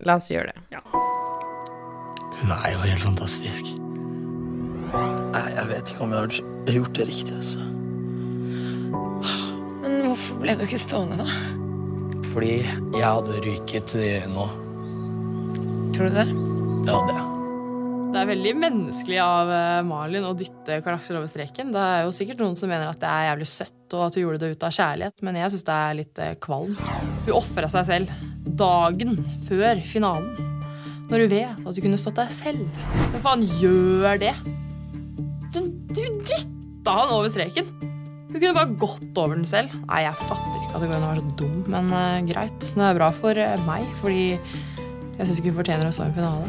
La oss gjøre det.
Hun er jo helt fantastisk. Nei, jeg vet ikke om jeg har gjort- gjort det riktig, altså.
Men hvorfor ble du ikke stående, da?
Fordi jeg hadde ryket eh, nå.
Tror du det?
Ja, det.
Det er veldig menneskelig av eh, Malin å dytte Karl Aksel over streken. Det er jo sikkert noen som mener at det er jævlig søtt og at hun gjorde det ut av kjærlighet, men jeg syns det er litt eh, kvalm. Hun ofra seg selv dagen før finalen. Når hun vet at du kunne stått der selv. Hvem faen gjør det? Du, du dytta han over streken! Hun kunne bare gått over den selv. Nei, jeg fatter ikke at hun kan være så dum, men eh, greit. Det er bra for eh, meg, fordi jeg syns ikke hun fortjener å stå i en finale.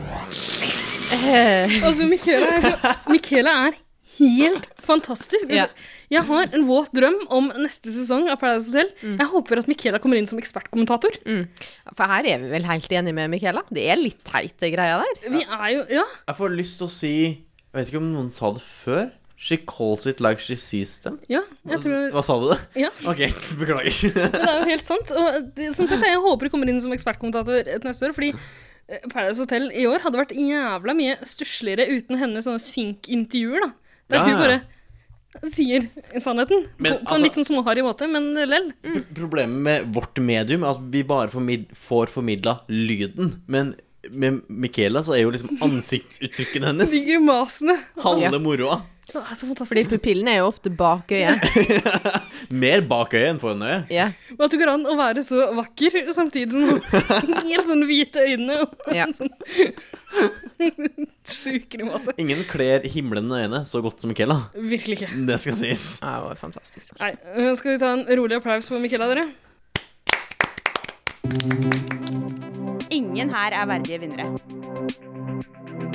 Altså, Michaela er, Michaela er helt fantastisk.
Ja.
Jeg har en våt drøm om neste sesong av Paradise Hotel.
Mm.
Jeg håper at Michaela kommer inn som ekspertkommentator.
For her er vi vel helt enige med Michaela. Det er litt teit, det greia der.
Vi er jo Ja.
Jeg får lyst til å si Jeg vet ikke om noen sa det før. She calls it like she sees them.
ja jeg tror
Altså, Hva sa du det?
Ja.
Ok, beklager.
Men det er jo helt sant. Og det- som sagt, jeg håper det kommer inn som ekspertkommentator et neste år, fordi eh, Paradise Hotel i år hadde vært jævla mye stussligere uten hennes sånne synkintervjuer, da. Der
Ja,
hun
ja, ja.
bare sier sannheten.
Men,
på, på en
altså-
litt sånn småharry måte, men lell.
Pro- Problemet med vårt medium er at vi bare formid får formidla lyden. Men med Michaela så er jo liksom ansiktsuttrykken hennes
De grimasene.
halve moroa.
Det er så
Fordi
fantastisk.
pupillene er jo ofte bak øyet.
Mer bak øyet enn foran øyet.
Ja.
Og at det går an å være så vakker samtidig som hun gir sånn hvite øyne og
Ja.
en sånn sjuk grimase.
Ingen kler himlende øyne så godt som Michaela.
Virkelig ikke.
Det skal sies.
Ja, det var fantastisk.
Nei, øh, skal vi ta en rolig applaus for Michaela, dere?
Ingen her er verdige vinnere.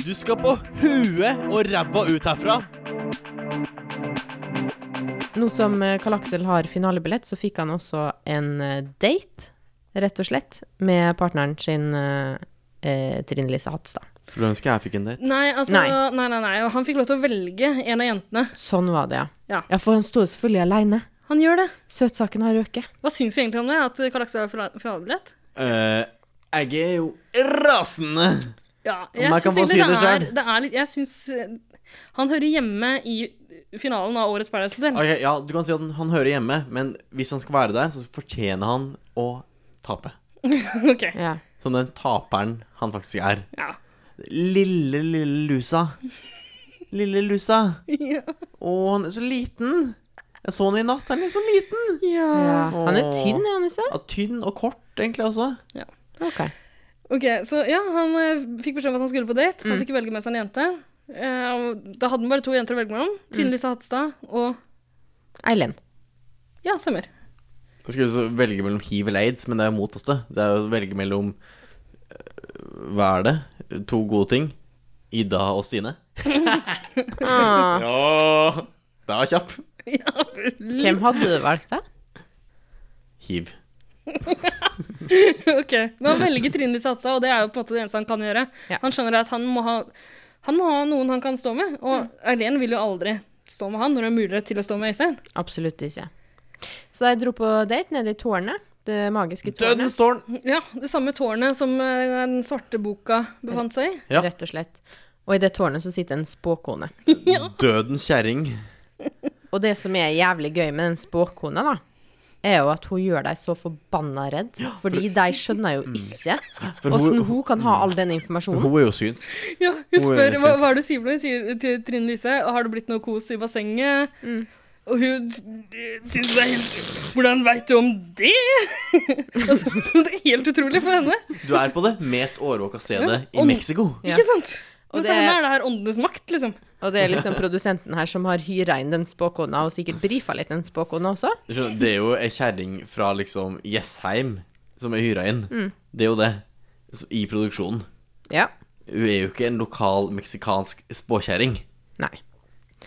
Du skal på huet og ræva ut herfra.
Nå som eh, Karl Aksel har finalebillett, så fikk han også en eh, date, rett og slett, med partneren sin eh, eh, Trine Lise Hatstad.
Skulle ønske jeg fikk en date.
Nei, altså, nei.
Nei.
nei, nei, Og han fikk lov til å velge en av jentene.
Sånn var det, ja.
Ja.
for han står jo selvfølgelig aleine.
Han gjør det.
Søtsaken har røket.
Hva syns vi egentlig om det? At Kalaksa har fila- finalebillett?
Eh, jeg er jo rasende!
Ja,
Om
jeg
jeg kan
syns
få si
egentlig
det
det, er,
selv.
det er litt Jeg syns eh, Han hører hjemme i finalen av årets Paradise Hotel.
Ok, ja, du kan si at han, han hører hjemme, men hvis han skal være der, så fortjener han å tape.
Ok.
Som den taperen han faktisk er.
Ja.
Lille, lille lusa. Lille lusa.
Ja.
Å, han er så liten. Jeg så han i natt, han er så liten.
Ja. Han er
Åh.
tynn, er han ikke?
Ja, tynn og kort, egentlig, også.
Ok.
Ok, så ja, han eh, fikk beskjed om at han skulle på date.
Mm.
Han fikk velge med seg en jente. Eh, og da hadde han bare to jenter å velge mellom.
Mm.
Trine Lise Hatstad og
Eilen.
Ja, stemmer.
Jeg skulle så velge mellom hiv eller aids, men det er jo mot oss, det. Det er jo å velge mellom eh, Hva er det? To gode ting. Ida og Stine.
Ah.
Ja! Da er jeg kjapp.
Hvem hadde du valgt, da?
Hiv.
ok, men han velger Trine Lise Hatstad, og det er jo på en måte det eneste han kan gjøre. Han skjønner at han må ha Han må ha noen han kan stå med, og Eileen vil jo aldri stå med han når det er mulighet til å stå med Øystein.
Absolutt ikke. Så da jeg dro på date nede i tårnet, det magiske tårnet,
Dødens tårn!
Ja, det samme tårnet som eh, den svarte boka befant seg i.
Ja.
rett og slett Og i det tårnet så sitter en spåkone.
Dødens kjerring.
Og det som er jævlig gøy med den spåkona, da, er jo at hun gjør deg så forbanna redd. Fordi de skjønner jo ikke
For
åssen
hun-
hun kan ha all den informasjonen.
Hun er jo synsk.
Ja,
Hun
hun
er
spør
rasist.
hva, hva er det du sier for noe? Hun sier til Trine Lise har det blitt noe kos i bassenget. Og hun s- syns det er helt Hvordan veit du om det? altså, det er helt utrolig for henne.
Du er på det mest overvåka stedet i
Om-
Mexico.
Ja.
Ikke sant?
Og
Men
det-
for henne er det her åndenes makt, liksom.
Og det er liksom produsenten her som har hyra inn den spåkona, og sikkert brifa litt den spåkona også.
Du skjønner, Det er jo ei kjerring fra liksom Jessheim som er hyra inn.
Mm.
Det er jo det. Så- I produksjonen.
Ja.
Hun er jo ikke en lokal meksikansk spåkjerring.
Nei.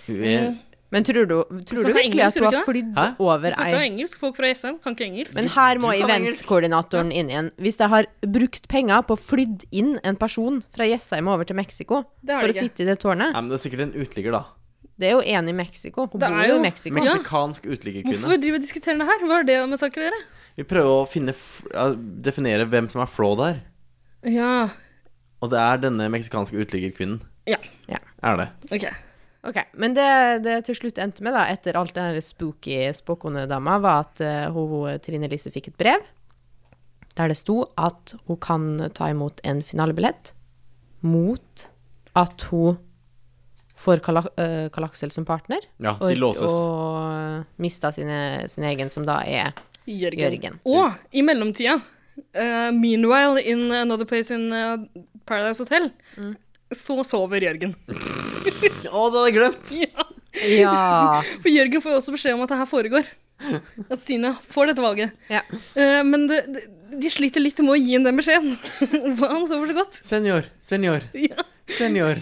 Hun
Eh.
er
Men tror du, tror du
Snakker
virkelig at
engelsk,
hun
gjør du
har flydd
Hæ?
over
Hun snakker jo
ei
engelsk. Folk fra SM kan ikke engelsk.
Men her må
Du kan
eventkoordinatoren inn igjen. Hvis de har brukt penger på å flydd inn en person fra Jessheim over til Mexico
Det har
for
de
å
ikke.
sitte i det tårnet
Nei, men Det er sikkert en uteligger, da.
Det er jo én i Mexico. Hun
Det
bor
er jo-
jo i Mexico.
Ja.
Meksikansk uteliggerkvinne.
Hvorfor driver vi og diskuterer det her? Hva har det med saken å gjøre?
Vi prøver å finne f- ja, definere hvem som er fraud her.
Ja.
Og det er denne meksikanske uteliggerkvinnen.
Ja.
Ja.
Er det.
OK.
Ok, Men det det til slutt endte med, da, etter alt det her spooky spåkonedama, var at eh, hun, Trine Lise fikk et brev der det sto at hun kan ta imot en finalebillett mot at hun får Kala eh, Kalaksel som partner.
Ja, de låses.
Og mista sine, sin egen, som da er
Jørgen.
Jørgen.
Og i mellomtida, eh, meanwhile in another place in eh, Paradise Hotel, så sover Jørgen.
Å, det hadde jeg glemt!
Ja.
Ja.
For Jørgen får jo også beskjed om at det her foregår. At Stine får dette valget.
Ja.
Eh, men det, det, de sliter litt med å gi ham den beskjeden. For Han sover så godt.
Senor, senor,
Ja.
senor.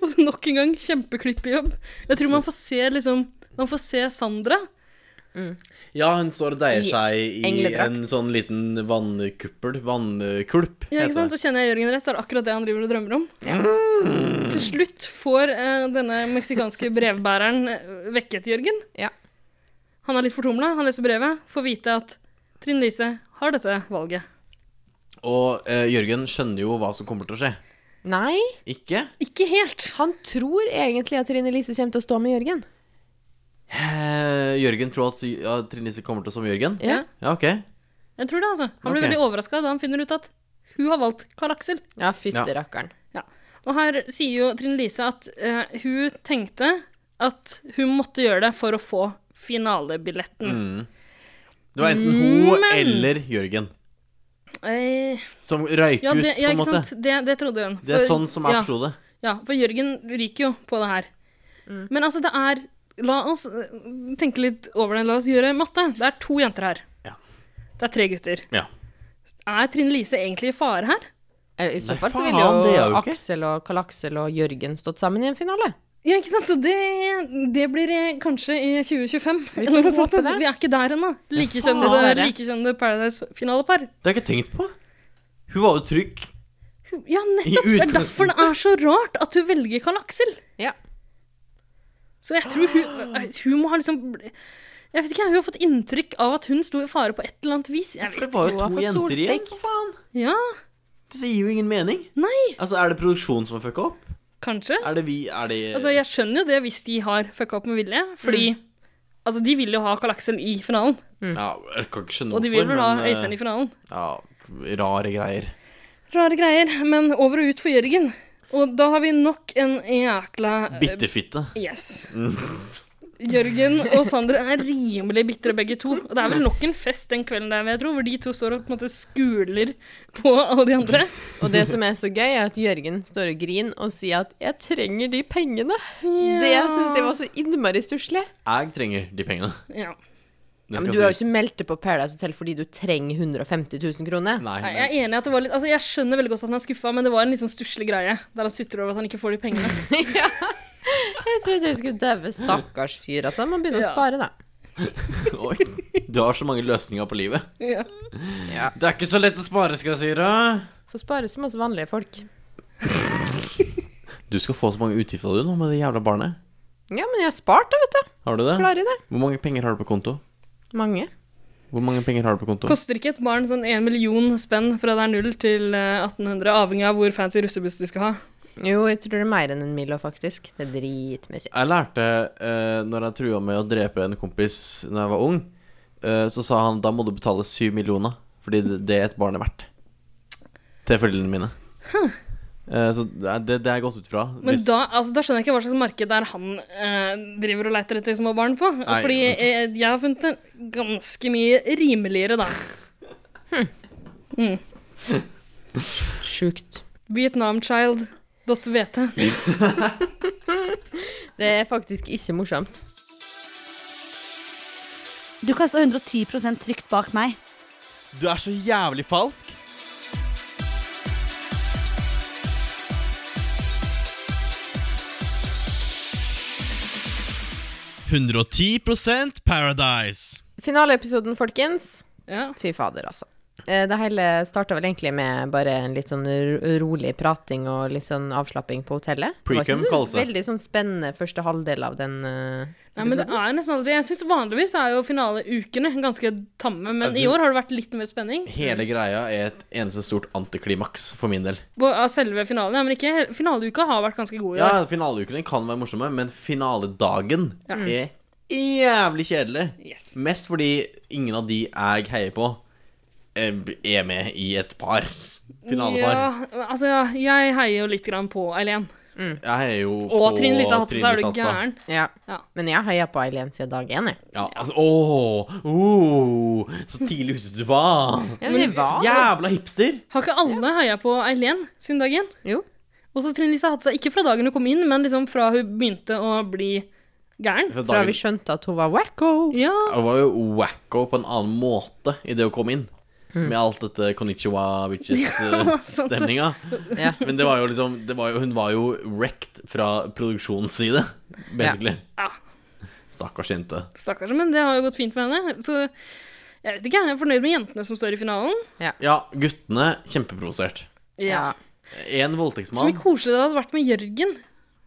Og nok en gang kjempeklipp i jobb. Jeg tror man får se liksom Man får se Sandra.
Ja, hun står og deier
I
seg i
engledrakt.
en sånn liten vannkuppel. Vannkulp.
Ja,
heter
ikke sant?
det.
Så kjenner jeg Jørgen rett, så er det akkurat det han driver og drømmer om. Mm. Til slutt får eh, denne meksikanske brevbæreren eh, vekket Jørgen.
Ja.
Han er litt fortumla, han leser brevet, får vite at Trine Lise har dette valget.
Og eh, Jørgen skjønner jo hva som kommer til å skje.
Nei,
Ikke?
Ikke helt.
han tror egentlig at Trine Lise kommer til å stå med Jørgen.
Eh, Jørgen tror at ja, Trine Lise kommer til å som Jørgen?
Ja.
Ja, ok.
Jeg tror det, altså. Han blir
Ok.
veldig overraska da han finner ut at hun har valgt Karl Aksel.
Ja, fytte rakkeren.
Og her sier jo Trine Lise at eh, hun tenkte at hun måtte gjøre det for å få
Mm.
finalebilletten.
Det var enten hun
Mm, Men-
eller Jørgen
Eh,
som røyk
ja, det,
ut,
ja,
på en
ikke
måte.
sant. Det, det trodde hun.
Det er
For-
sånn som jeg
ja.
forsto det.
Ja, for Jørgen ryker jo på det her.
Mm.
Men altså, det er La oss øh, tenke litt over det. La oss gjøre matte. Det er to jenter her.
Ja.
Det er tre gutter.
Ja.
Er Trine Lise egentlig i fare her?
Eller, Eh, I så
Nei,
fall så
faen,
ville jo,
det er jo ikke.
Aksel og Karl Aksel og Jørgen stått sammen i en finale.
Ja, ikke sant? Så det, det blir eh, kanskje i 2025.
Vi får
eller noe sånt.
håpe det.
Vi er ikke der ennå. Likekjønnede
dessverre.
likekjønnede Paradise-finalepar.
Det har jeg ikke tenkt på. Hun var jo trygg
Ja, nettopp. Det er derfor det er så rart at hun velger Karl Aksel.
Ja.
Så jeg tror hun, hun må ha liksom Jeg vet ikke, hun har fått inntrykk av at hun sto i fare på et eller annet vis. Jeg
For det
vet
var jo
ikke.
to jenter igjen, for faen.
Ja,
Det gir jo ingen mening.
Nei.
Altså, Er det produksjonen som har fucka opp?
kanskje.
Er det vi Er det
Altså, jeg skjønner jo det hvis de har fucka opp med vilje, fordi Altså, de vil jo ha Karl Aksel i finalen,
Ja, jeg kan ikke skjønne
og de vil
hvorfor,
vel ha
men, eh,
Øystein i finalen.
Ja, rare greier.
Rare greier, men over og ut for Jørgen. Og da har vi nok en jækla eh,
Bittefitte.
Yes.
Mm.
Jørgen og Sander er rimelig bitre begge to. Og det er vel nok en fest den kvelden der, vil jeg tro, hvor de to står og på en måte skuler på alle de andre.
Og det som er så gøy, er at Jørgen står og griner og sier at 'jeg trenger de pengene'. Det syns jeg var så innmari stusslig.
Jeg trenger de pengene.
Ja.
Ja,
Det skal
men du har jo
sies.
ikke meldt deg på Paradise Hotel fordi du trenger 150 000 kroner.
Nei,
Nei, Jeg er enig i at det var litt Altså, jeg skjønner veldig godt at han er skuffa, men det var en litt sånn stusslig greie der han sutrer over at han ikke får de pengene.
Jeg trodde jeg skulle daue. Stakkars fyr, altså. Man begynner
Ja.
å spare, da.
Oi, du har så mange løsninger på livet.
Ja.
Det er ikke så lett å spare, skal jeg si deg.
Få spare som oss vanlige folk.
Du skal få så mange utgifter du nå med det jævla barnet.
Ja, men jeg har spart, da, vet du.
Har du det?
Klarer det.
Hvor mange penger har du på konto?
Mange.
Hvor mange penger har du på konto?
Koster ikke et barn sånn en million spenn fra det er null til eh, 1800, avhengig av hvor fancy russebuss de skal ha?
Jo, jeg tror det er mer enn en Milo, faktisk. Det er dritmessig.
Jeg lærte eh, når jeg trua med å drepe en kompis Når jeg var ung, eh, så sa han da må du betale syv millioner, fordi det, det er et barn er verdt. Til foreldrene mine. Eh, så det, er- det, det er jeg gått ut fra.
Men
Hvis-
da, altså, da skjønner jeg ikke hva slags marked det er han eh, driver og leter etter små barn på.
Nei.
Fordi eh, jeg har funnet en ganske mye rimeligere, da. Mm.
Sjukt.
Vietnamchild.vt.
Det er faktisk ikke morsomt.
Du kasta 110 trygt bak meg.
Du er så jævlig falsk. «110% Paradise.
Finaleepisoden, folkens.
Ja.
Fy fader, altså. Eh, Det hele starta vel egentlig med bare en litt sånn ro- rolig prating og litt sånn avslapping på hotellet. Det var ikke
Precum
så
kalles det.
Veldig sånn spennende første halvdel av den eh,
Nei, men det er nesten aldri Jeg synes Vanligvis er jo finaleukene ganske tamme, men i år har det vært litt mer spenning.
Hele greia er et eneste stort antiklimaks for min del.
Bo- Av selve finalen, ja, men ikke Finaleuka har vært ganske god i
Ja,
år.
Finaleukene kan være morsomme, men finaledagen
Ja. Mm.
er jævlig kjedelig.
Yes.
Mest fordi ingen av de jeg heier på, eh, er med i et par. Finalepar.
Ja, altså, ja, jeg heier jo litt grann på Eileen.
Jeg heier jo
Og
på
Trine Lise Hattestad, er du
Lise Hattestad.
gæren?
Ja.
Ja.
Men jeg heia på Eileen siden dag én, jeg.
Ja, altså, åh, oh, så tidlig ute du var.
Ja, men det
Ah.
var
Jævla hipster.
Har ikke alle heia på Eileen sin dag én?
Jo.
Og så Trine Lise Hattestad. Ikke fra dagen hun kom inn, men liksom fra hun begynte å bli gæren.
Fra
Fra
dagen-
vi skjønte at hun var wacko.
Ja.
Hun var jo wacko på en annen måte i det å komme inn. Med alt dette konnichiwa
Mm.
eh,
Ja, sånn. sant det.
bitches-stemninga.
Ja.
Men det var jo liksom det var jo, Hun var jo wrecked fra produksjonens side, basically.
Ja.
Stakkars jente.
Stakkars, men det har jo gått fint med henne. Så jeg vet ikke, jeg er fornøyd med jentene som står i finalen.
Ja, guttene kjempeprovosert.
Ja.
Én
Så mye
voldtektsmann
koseligere det hadde vært med Jørgen.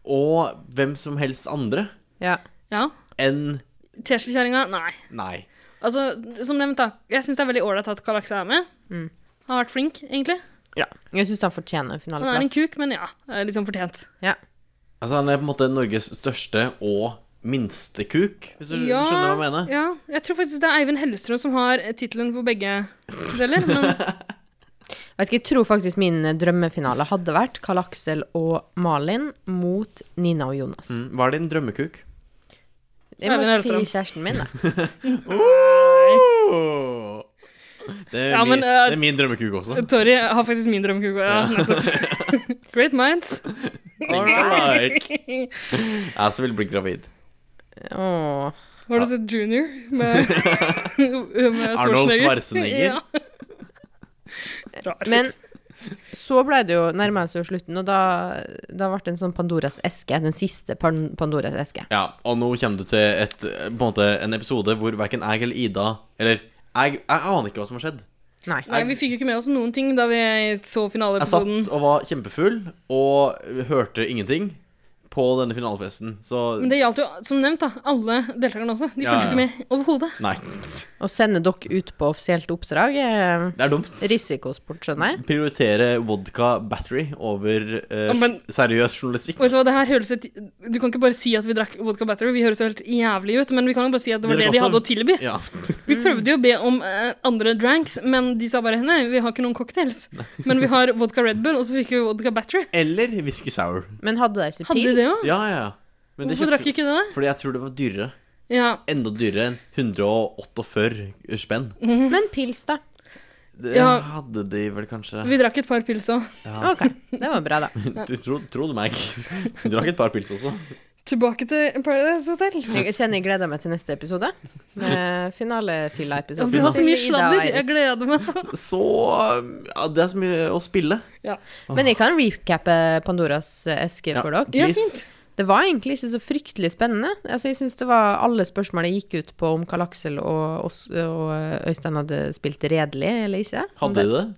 og hvem som helst andre
Ja.
Ja.
enn
Tesla-kjerringa, nei.
Nei.
Altså, som nevnt, da. Jeg syns det er veldig ålreit at Karl Akse er med.
Mm.
Han har vært flink, egentlig.
ja. Jeg syns han fortjener en
Han er en
finaleplass.
kuk, men ja. er Liksom fortjent.
Altså, han er på en måte Norges største og minste kuk, hvis du
Ja,
skjønner hva jeg mener.
Ja, jeg tror faktisk det er Eivind Hellstrøm som har eh, tittelen for begge deler. Men
Vet ikke, jeg tror faktisk min eh, drømmefinale hadde vært Karl Aksel og Malin mot Nina og Jonas.
Mm, hva er din drømmekuk?
Jeg må
Eivind
si
Hellstrøm.
kjæresten min, da.
Åh! Det er,
Ja,
min,
men, eh,
det er min drømmekuk også.
Tori har faktisk min drømmekuk. Ja, nettopp. Great minds.
Think alike. Jeg som vil bli gravid.
Åh.
Var det sett Junior med, med
Arnold Schwarzenegger.
Ja. Rar fyr.
Men så ble det jo nærmere seg jo slutten, og da, da ble det en sånn Pandoras eske. Den siste pan Pandoras eske.
Ja, og nå kommer du til et, på en, måte, en episode hvor verken jeg eller Ida Eller jeg, jeg aner ikke hva som har skjedd.
Nei.
Nei, Vi fikk jo ikke med oss noen ting da vi så
Jeg satt
finaleepisoden.
og var kjempefull og hørte ingenting på denne finalefesten, så
Men det gjaldt jo, som nevnt, da, alle deltakerne også. De
Ja, ja.
fulgte ikke med overhodet.
Nei.
Å sende dere ut på offisielt oppdrag er
Det er dumt.
Risikosport, skjønner jeg.
Prioritere vodka battery over eh,
Ja, men-
seriøs journalistikk.
Og vet Du hva, det her høres ut, du kan ikke bare si at vi drakk vodka battery, vi høres jo helt jævlig ut. Men vi kan jo bare si at det var
Dere
det de
også-
hadde å tilby.
Ja.
Vi
Mm.
prøvde jo å be om eh, andre dranks, men de sa bare nei, vi har ikke noen cocktails. Men vi har vodka Red Bull, og så fikk vi vodka battery.
Eller whisky sour.
Men hadde de ikke
Hadde de det òg?
Ja, ja, ja. Men det
Hvorfor
kjøpte-
drakk ikke det da?
Fordi jeg tror det var dyrere.
Ja.
Enda dyrere enn 148 spenn.
Men pils, da.
Det
Ja.
hadde de vel kanskje
Vi drakk et par pils òg.
Ja.
Ok, det var bra, da.
Du tro, tro det meg. Vi drakk et par pils også.
Tilbake til Paradise Hotel.
Jeg kjenner jeg gleder meg til neste episode. Med finalefilla-episode.
Vi har så mye sladder. Jeg gleder meg sånn.
Så ja, Det er så mye å spille.
Ja.
Men jeg kan recappe Pandoras eske for dere.
Ja, fint.
Det var egentlig ikke så fryktelig spennende. Altså, jeg synes det var Alle spørsmålene gikk ut på om Karl Aksel og, oss- og eh, Øystein hadde spilt redelig eller ikke. Om
Hadde de det?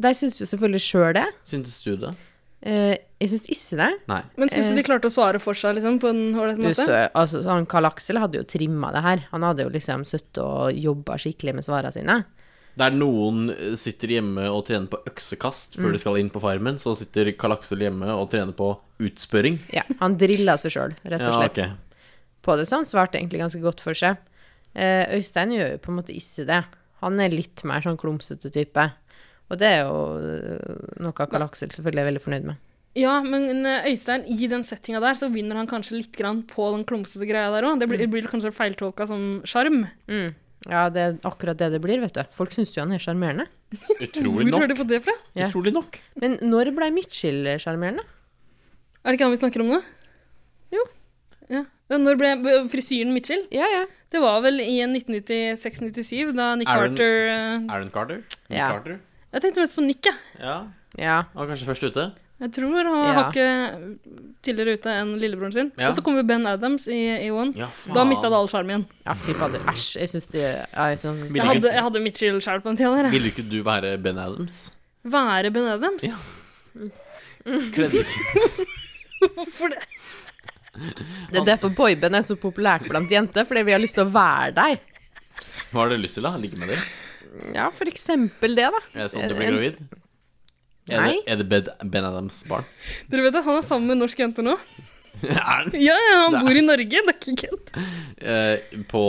De syns jo selvfølgelig sjøl det.
Syntes du det?
Eh, jeg syns ikke det.
Nei.
Men syns du de klarte å svare for seg liksom, på en ålreit måte?
Usø, altså, så han Karl Aksel hadde jo trimma det her. Han hadde jo liksom sittet og jobba skikkelig med svarene sine.
Der noen eh, sitter hjemme og trener på øksekast før
Mm.
de skal inn på Farmen, så sitter Karl Aksel hjemme og trener på utspørring.
Ja, han drilla seg sjøl, rett og
Ja,
slett.
ok.
På det, så han svarte egentlig ganske godt for seg. Eh, Øystein gjør jo på en måte ikke det. Han er litt mer sånn klumsete type. Og det er jo eh, noe Karl Aksel selvfølgelig er veldig fornøyd med.
Ja, men eh, Øystein, i den settinga der, så vinner han kanskje litt grann på den klumsete greia der òg. Det
Mm.
blir, blir kanskje feiltolka som sjarm.
Ja, det er akkurat det det blir, vet du. Folk syns jo han er sjarmerende.
Utrolig
Hvor
nok.
har du fått det fra?
Ja.
Utrolig nok.
Men når ble Mitchell sjarmerende?
Er det ikke han vi snakker om nå? Jo. Ja. Ja, Når ble b- frisyren Mitchell?
Ja, ja.
Det var vel i 1996-97, da Nick
Aaron-
Carter eh,
Aaron Carter? Nick
Ja.
Carter?
Jeg tenkte mest på Nick, jeg.
Ja.
ja.
Han var kanskje først ute?
Jeg tror han var
Ja.
hakket tidligere ute enn lillebroren sin.
Ja.
Og så kom jo Ben Adams i, i One.
Ja,
da
faen.
mista det all sjarmen.
Ja, fy fader. Æsj. Jeg syns det ja, jeg synes,
Jeg hadde, jeg hadde Mitchell sjæl på den tida der. jeg.
Ville ikke du være Ben Adams?
Være Ben Adams?
Kledde ikke
Hvorfor det?
Det er derfor boyband er så populært blant jenter, fordi vi har lyst til å være deg.
Hva har du lyst til, da? Ligge med dem?
Ja, for eksempel det, da.
Er det sånn at du blir gravid? Er det,
Eh, Nei.
er det Bed, Ben Adams barn?
Dere vet at han er sammen med en norsk jente nå?
er han?
Ja, ja, han
Det er-
bor i Norge, det er ikke kødd.
Eh, på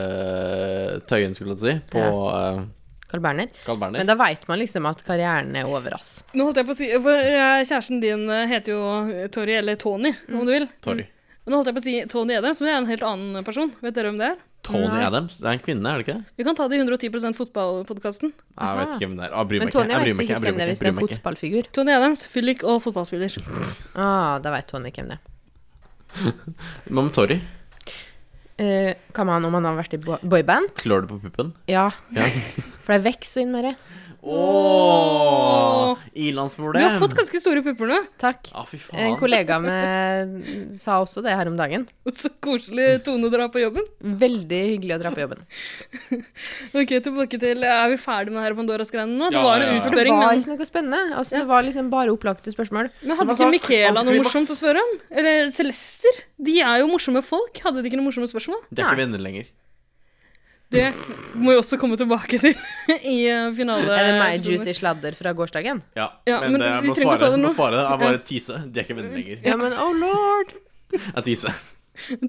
eh, Tøyen, skulle jeg si. På eh,
Carl Berner.
Carl Berner.
Men da veit man liksom at karrieren er over, ass.
Nå holdt jeg på å si for eh, Kjæresten din eh, heter jo Tori, eller Tony, om du vil.
Torry.
Nå holdt jeg på å si Tony Adams, men det er en helt annen person. Vet dere hvem det er?
Tony
Nei.
Adams? Det er en kvinne, er det ikke det?
Vi kan ta det i 110 fotballpodkasten.
Nei, Jeg vet ikke hvem det er. Ah, bryr meg
Men
ikke.
Tony
Jeg bryr
vet
meg ikke.
sikkert
Jeg bryr
hvem det
meg
er hvis
ikke. Jeg
det er en
bryr meg ikke.
fotballfigur.
Tony Adams, fyllik og fotballspiller.
Ah, da veit Tony hvem det er.
Hva med Torry?
Eh, Hva med han om han har vært i bo- boyband?
Klør du på puppen?
Ja.
Ja.
For det vokser så innmari.
Ååå!
Du
Ilandsproblem.
har fått ganske store pupper nå.
Takk.
Ah, fy faen.
En kollega med sa også det her om dagen.
Så koselig Tone drar på jobben.
Veldig hyggelig å dra på jobben.
Ok, tilbake til Er vi ferdig med det her Pandoras-greiene nå? Det
Ja,
var
ja,
en
ja.
utspørring,
Det var
men
ikke noe spennende. Altså, Det var liksom bare opplagte spørsmål.
men hadde ikke Michaela noe morsomt å spørre om? Eller Celester? De er jo morsomme folk. Hadde de ikke noe morsomme spørsmål?
De er ikke venner lenger.
Det må vi også komme tilbake til i eh, finale.
Er det meg juicy sladder fra gårsdagen?
Ja,
Ja, men
det- jeg
vi
må
trenger ikke ta
spare-
det nå.
Må spare det. Jeg
Ja.
bare tise. De er ikke venner lenger.
Ja, men oh lord!
Jeg tise.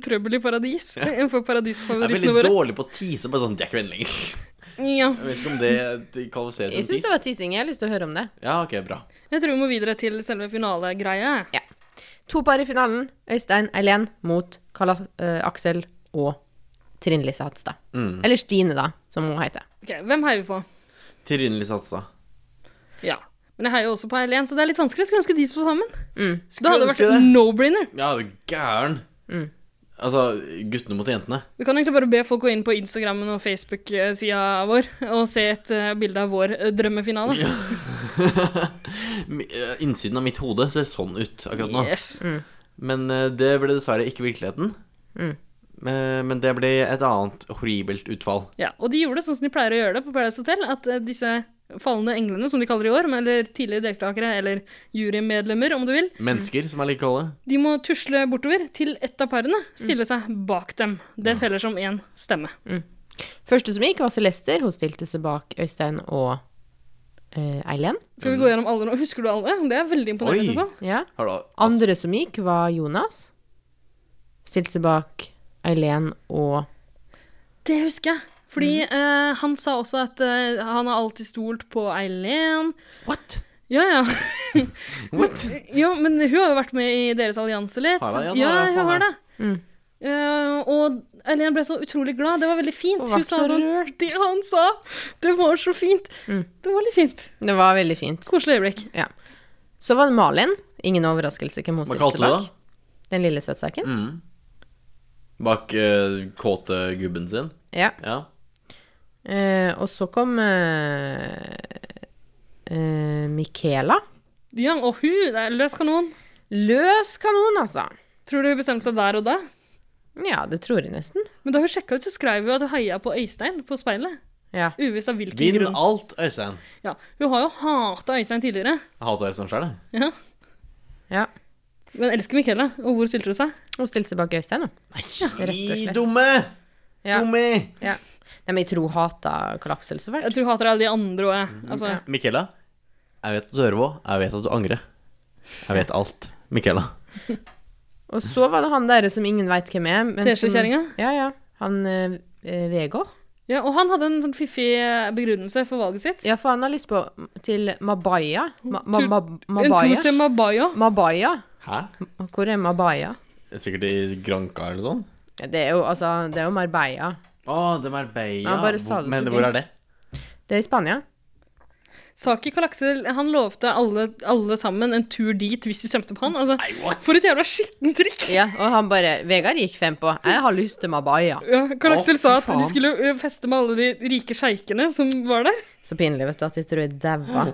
Trøbbel i paradis.
Ja.
En for
Jeg er
paradisfavorittene
veldig
våre.
dårlig på å tise. Bare sånn, de er ikke venner lenger.
Ja.
Jeg vet ikke om det det kvalifiserer
Jeg
til en
syns
tis.
det var tissing. Jeg har lyst til å høre om det.
Ja, ok, bra.
Jeg tror vi må videre til selve finalegreia.
Ja. To par i finalen. Øystein Eilen mot Karl eh, Aksel og Trine Lise Hatstad.
Mm.
Eller Stine, da, som hun heter.
Ok, Hvem heier vi på?
Trinli satsa.
Ja. Men jeg heier jo også på Eileen, så det er litt vanskelig. Skulle ønske de sto sammen.
Skulle
Da hadde det
ønske
vært Mm.
det.
no-brainer.
Ja, du gæren. Altså, guttene mot jentene.
Vi kan egentlig bare be folk gå inn på Instagrammen og Facebook-sida vår og se et eh, bilde av vår eh, drømmefinale.
Mi- eh, Innsiden av mitt hode ser sånn ut akkurat nå.
Yes. Mm.
Men eh, det ble dessverre ikke virkeligheten. Men men det ble et annet horribelt utfall.
Ja, og de gjorde det sånn som de pleier å gjøre det på Paradise Hotel, at eh, disse fallende englene, som de kaller det i år, men- eller tidligere deltakere, eller jurymedlemmer, om du vil,
Mennesker som er like kalde.
de må tusle bortover til ett av parene, stille seg bak dem. Det teller som én stemme.
Første som gikk, var Celester. Hun stilte seg bak Øystein og eh, Eileen.
Mm.
Skal vi gå gjennom alle nå? Husker du alle? Det er veldig imponerende. i så fall.
Ja.
Har du
Andre som gikk, var Jonas. Stilte seg bak Eileen og
Det husker jeg. Fordi eh, han sa også at eh, han har alltid stolt på Eileen.
What?
Ja, ja. Men, ja, men hun har jo vært med i deres allianse litt.
Har hun? Ja,
ja,
det har hun,
hun har det.
faen, Mm.
Eh, og Eileen ble så utrolig glad. Det var veldig fint.
Hun
Hun
var
sa
så
sånn Det han sa! Det var så fint!
Mm.
Det var litt fint.
Det var veldig fint.
Koselig øyeblikk.
Ja. Så var det Malin. Ingen overraskelse hvem hun
Hva
stilte
kalte
seg
du
bak.
det?
Den lille søtsaken.
Mm. Bak eh, kåte gubben sin?
Ja.
ja.
Eh, og så kom eh, eh, Michaela.
Ja, og hun det er løs kanon.
Løs kanon, altså.
Tror du hun bestemte seg der og da?
Ja, det tror jeg nesten.
Men da hun sjekka ut, så skrev hun at hun heia på Øystein på speilet.
Ja.
Uvisst av hvilken
Vinn
grunn.
alt, Øystein.
Ja, hun har jo hata Øystein tidligere.
Jeg hater Øystein sjøl, jeg.
Ja.
Ja.
Men elsker Michaela. Og hvor stilte hun seg?
Hun stilte seg bak Øystein, da.
Gi dumme!
Ja.
Dumme!
Ja. Nei, men jeg tror hun hata Karl Aksel så fælt.
Jeg tror hun hater alle de andre òg. Altså,
Michaela, jeg vet at du hører på. Jeg vet at du angrer. Jeg vet alt. Michaela.
Og så var det han der som ingen veit hvem er. men som-
Tesjekjerringa?
Ja, ja. Han eh, eh, Vegard.
ja, og han hadde en sånn fiffig eh, begrunnelse for valget sitt.
Ja, for han har lyst på til Mabaya. Ma, ma,
Tur-
ma,
En tur til
Mabaya.
Mabaya.
Mabaya.
Hæ?
Hvor er Mabaya?
Sikkert i Granca eller sånn?
Ja, Det er jo, altså, det er jo Marbella.
Å, det er Marbella.
Ja, bare sa det så
Men
fint.
hvor er det?
Det er i Spania.
Saki Kalaksel han lovte alle, alle sammen en tur dit hvis de stemte på han. Altså, for et jævla skittent triks!
Ja, og han bare Vegard gikk fem på. Jeg har lyst til Mabaya.
Ja, Kalaksel
Å,
sa at
fy faen.
de skulle ø, feste med alle de rike sjeikene som var der.
Så pinlig, vet du, at jeg tror jeg daua.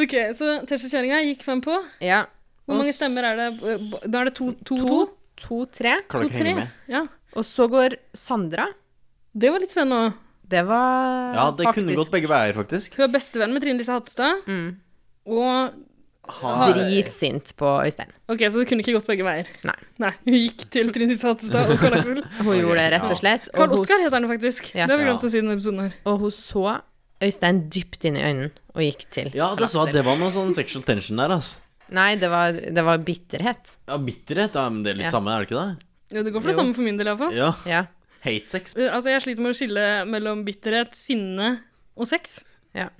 Ok, Så Tesjekjerringa gikk fem på.
Ja.
Hvor mange stemmer er det? Da er det to? To? to?
To-tre.
Klarer ikke å henge To-tre, med. ja.
Og så går Sandra.
Det var litt spennende.
Det var
Ja, det
faktisk
kunne gått begge veier, faktisk.
Hun er bestevenn med Trine Lise Hatstad.
Mm.
Og Ha-
dritsint på Øystein.
Ok, Så det kunne ikke gått begge veier?
Nei.
Hun gikk til Trine Lise Hattestad og Karl Aksel?
Hun gjorde det, rett og slett. Og
Karl
hun-
Oskar heter han jo faktisk.
Ja.
Det har vi glemt
Ja.
å si i denne episoden her.
Og hun så Øystein dypt inn i øynene og gikk til
Ja, du
Karl
sa
Aksel.
at det var noe sånn sexual tension der, ass.
Nei, det var, det var bitterhet.
Ja, bitterhet. Ja, men det er litt
Ja.
samme, er det ikke det?
Jo, det går for det
Jo.
samme for min del, iallfall.
Ja.
ja.
Hate sex.
Altså, jeg sliter med å skille mellom bitterhet, sinne og sex.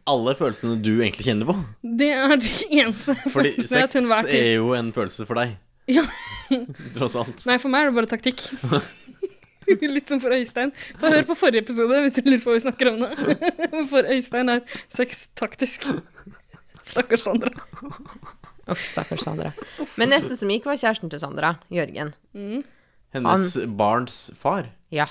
Alle følelsene du egentlig kjenner på.
Det er de eneste
Fordi
følelsene jeg
sex
til enhver
er
tid
jo en følelse for deg,
ja.
tross alt.
Nei, for meg er det bare taktikk. Litt som for Øystein. Da Hør på forrige episode hvis du lurer på hva vi snakker om nå. For Øystein er sex taktisk. Stakkars Sandra.
Uff, stakkars Sandra. Men neste som gikk, var kjæresten til Sandra, Jørgen.
Mm.
Hennes barns far.
Ja.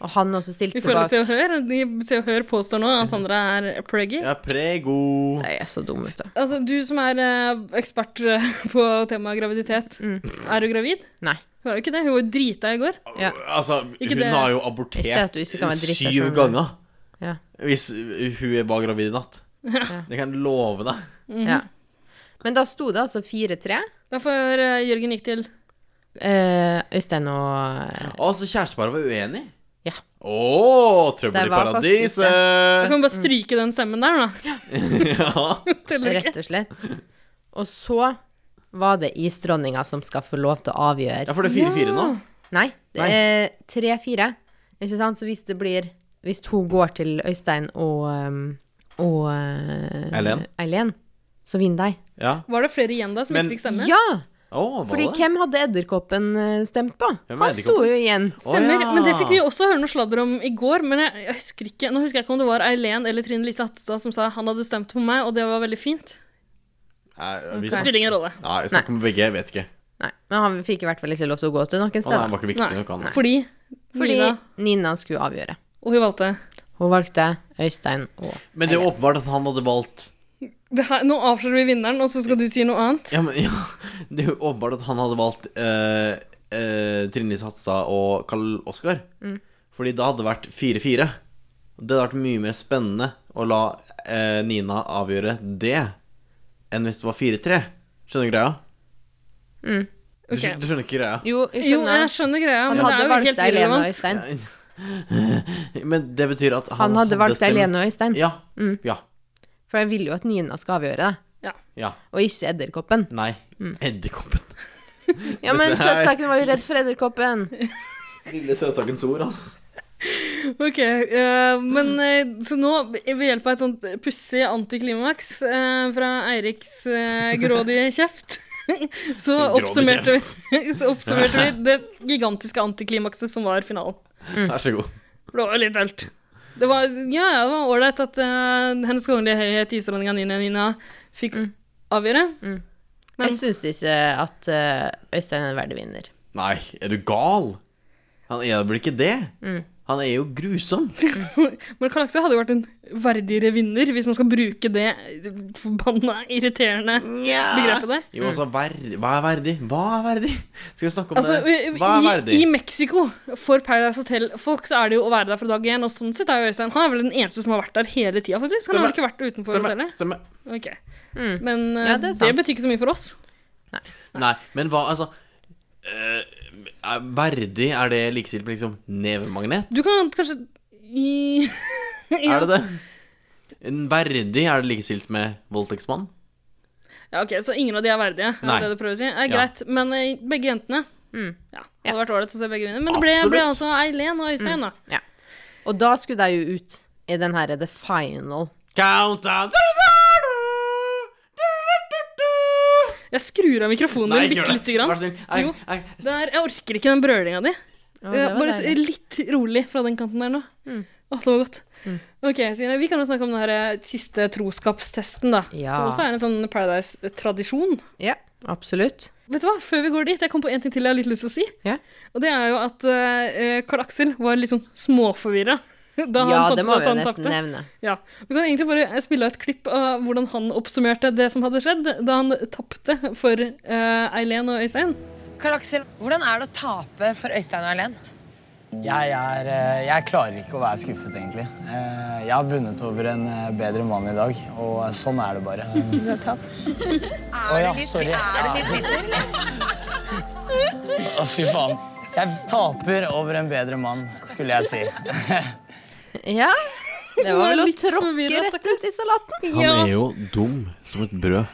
Og han også stilte
I
seg
forhold
bak
til Se og Hør, de Se og Hør påstår nå at Sandra er preggy.
Ja, prego.
Jeg er så dum, vet du.
Altså, du som er eh, ekspert eh, på temaet graviditet,
Mm.
er du gravid?
Nei.
Hun er jo ikke det. Hun var jo drita i går.
Altså,
Ikke
hun
det-
har jo
Jeg ser at
abortert
du ikke kan være dritt, jeg
syv
skjønner.
ganger.
Ja.
Hvis hun var gravid i natt.
Ja.
Det kan jeg love deg.
Ja. Men da sto det altså 4-3.
Derfor eh, Jørgen gikk til
Eh, Øystein og eh,
Å, så kjæresteparet var uenig?
Ja.
Å, trøbbel i
Det var faktisk
paradiset!
det.
Da kan vi
Mm.
bare stryke den semmen der, da. Teller ikke.
Rett og slett. Og så var det isdronninga som skal få lov til å avgjøre.
Ja, for det er 4-4 nå.
Nei, det er 3-4. Ikke sant? Så hvis det blir Hvis hun går til Øystein og um, og eh,
Eileen.
Eileen, så vinner de.
Ja.
Var det flere igjen da som
Men-
ikke fikk stemme?
Ja!
Å, var
Fordi
det?
hvem hadde Edderkoppen eh, stemt på?
Hvem er
Han sto
edderkoppen?
jo igjen.
Stemmer. Men det fikk vi jo også høre noe sladder om i går. Men jeg, jeg husker ikke Nå husker jeg ikke om det var Eileen eller Trine Lise Hattestad som sa han hadde stemt på meg, og det var veldig fint.
Nei, vi
Det spiller ingen rolle.
Nei, vi snakker om begge, jeg vet ikke.
Nei, men han fikk i hvert fall ikke lov til å gå til noen
nei,
steder.
han var ikke viktig Nei, nok, han. nei.
Fordi
Fordi Nina,
Nina-
skulle avgjøre.
Og hun valgte
Hun valgte Øystein og
Men det er jo åpenbart at han hadde valgt
det her, Nå avslører vi vinneren, og så skal du si noe annet.
Ja, men ja, Det er jo åpenbart at han hadde valgt eh, eh, Trine Lise Hatsa og Karl Oskar.
Mm.
Fordi da hadde det vært 4-4. Det hadde vært mye mer spennende å la eh, Nina avgjøre det enn hvis det var 4-3. Skjønner du greia?
Mm.
Du, skj- du skjønner ikke greia?
Jo, jeg skjønner.
Jo, jeg skjønner greia,
Han
men det
hadde
er jo
valgt
helt
deg, Lena
irrelevant.
Øystein.
Men det betyr at han,
Han hadde valgt deg,
stemt-
Lene Øystein.
Ja.
Mm.
Ja.
For jeg vil jo at Nina skal avgjøre det,
ja.
og ikke Edderkoppen.
Nei.
Mm.
Edderkoppen.
Ja, men
Dette er-
søtsaken var jo redd for Edderkoppen.
Lille søtsakens ord, ass.
Ok, eh, men eh, så nå, ved hjelp av et sånt pussig antiklimaks eh, fra Eiriks eh, grådige kjeft, så
Grådig
oppsummerte, vi, så oppsummerte vi det gigantiske antiklimakset som var finalen.
Mm.
Vær så god.
For Det var litt dølt. Det var ja, ja, det var ålreit at eh, Hennes Kongelige Høyhet isdronninga Nina Nina fikk
Mm.
avgjøre.
Jeg syns ikke at eh, Øystein er en verdig vinner.
Nei, er du gal? Han er vel ikke det?
Mm.
Han er jo grusom.
Men Karl Aksel hadde jo vært en verdigere vinner, hvis man skal bruke det forbanna irriterende begrepet der.
Jo, altså, ver hva er verdig? Hva er verdig? Skal vi snakke om
Altså,
det? Hva er
i,
verdig?
I Mexico, for Paradise Hotel-folk, så er det jo å være der fra dag én. Og sånn sett er jo Øystein Han er vel den eneste som har vært der hele tida, faktisk. Han har
Stemmer.
vel ikke vært utenfor
Stemmer.
hotellet?
Stemmer.
Ok.
Mm.
Men eh,
Ja, det er
det,
sant.
betyr ikke så mye for oss.
Nei, men hva, altså eh, er Verdig, er det likestilt med liksom nevemagnet?
Du kan kanskje i Ja.
Er det det? En Verdig, er det likestilt med voldtektsmann?
Ja, ok, Så ingen av de er verdige, er
Nei.
det det du prøver å si? Eh,
Ja.
greit. Men eh, begge jentene
Mm.
Ja, hadde vært ålreit å se begge vinne. Men det ble,
Absolutt.
ble altså Eileen og Øystein, da.
Ja. Og da skulle de jo ut i den her The Final.
Countdown!
Jeg skrur av mikrofonen
Nei,
din
gjør
bitte
det.
lite grann.
Vær så snill. Nei,
Jo, der, jeg orker ikke den brølinga di.
Ja, det
Eh,
var
Bare s-
deilig. Mm.
litt rolig fra den kanten der nå. Å, det var godt. Ok, Signe, Vi kan jo snakke om den her eh, siste troskapstesten, da.
Ja.
Som også er en sånn Paradise-tradisjon.
Ja, absolutt.
Vet du hva, Før vi går dit, jeg kom på en ting til jeg har litt lyst til å si.
Ja.
Og det er jo at eh, Karl Aksel var litt sånn småforvirra da han
ja,
fant
det
ut
må
at
vi jo
han
nesten
tapte.
nevne.
Ja. Vi kan egentlig bare spille av et klipp av hvordan han oppsummerte det som hadde skjedd da han tapte for eh, Eileen og Øystein.
Karl Aksel, hvordan er det å tape for Øystein og Erlend?
Jeg, er, eh, jeg klarer ikke å være skuffet, egentlig. Eh, Jeg har vunnet over en eh, bedre mann i dag, og sånn er det bare.
Du har tapt.
Å ja, sorry.
Er det litt bitter, eller?
Å, fy faen. Jeg taper over en bedre mann, skulle jeg si.
Ja. Det var vel å tråkke
forvirret, altså.
rett ut i salaten.
Han er jo dum som et brød.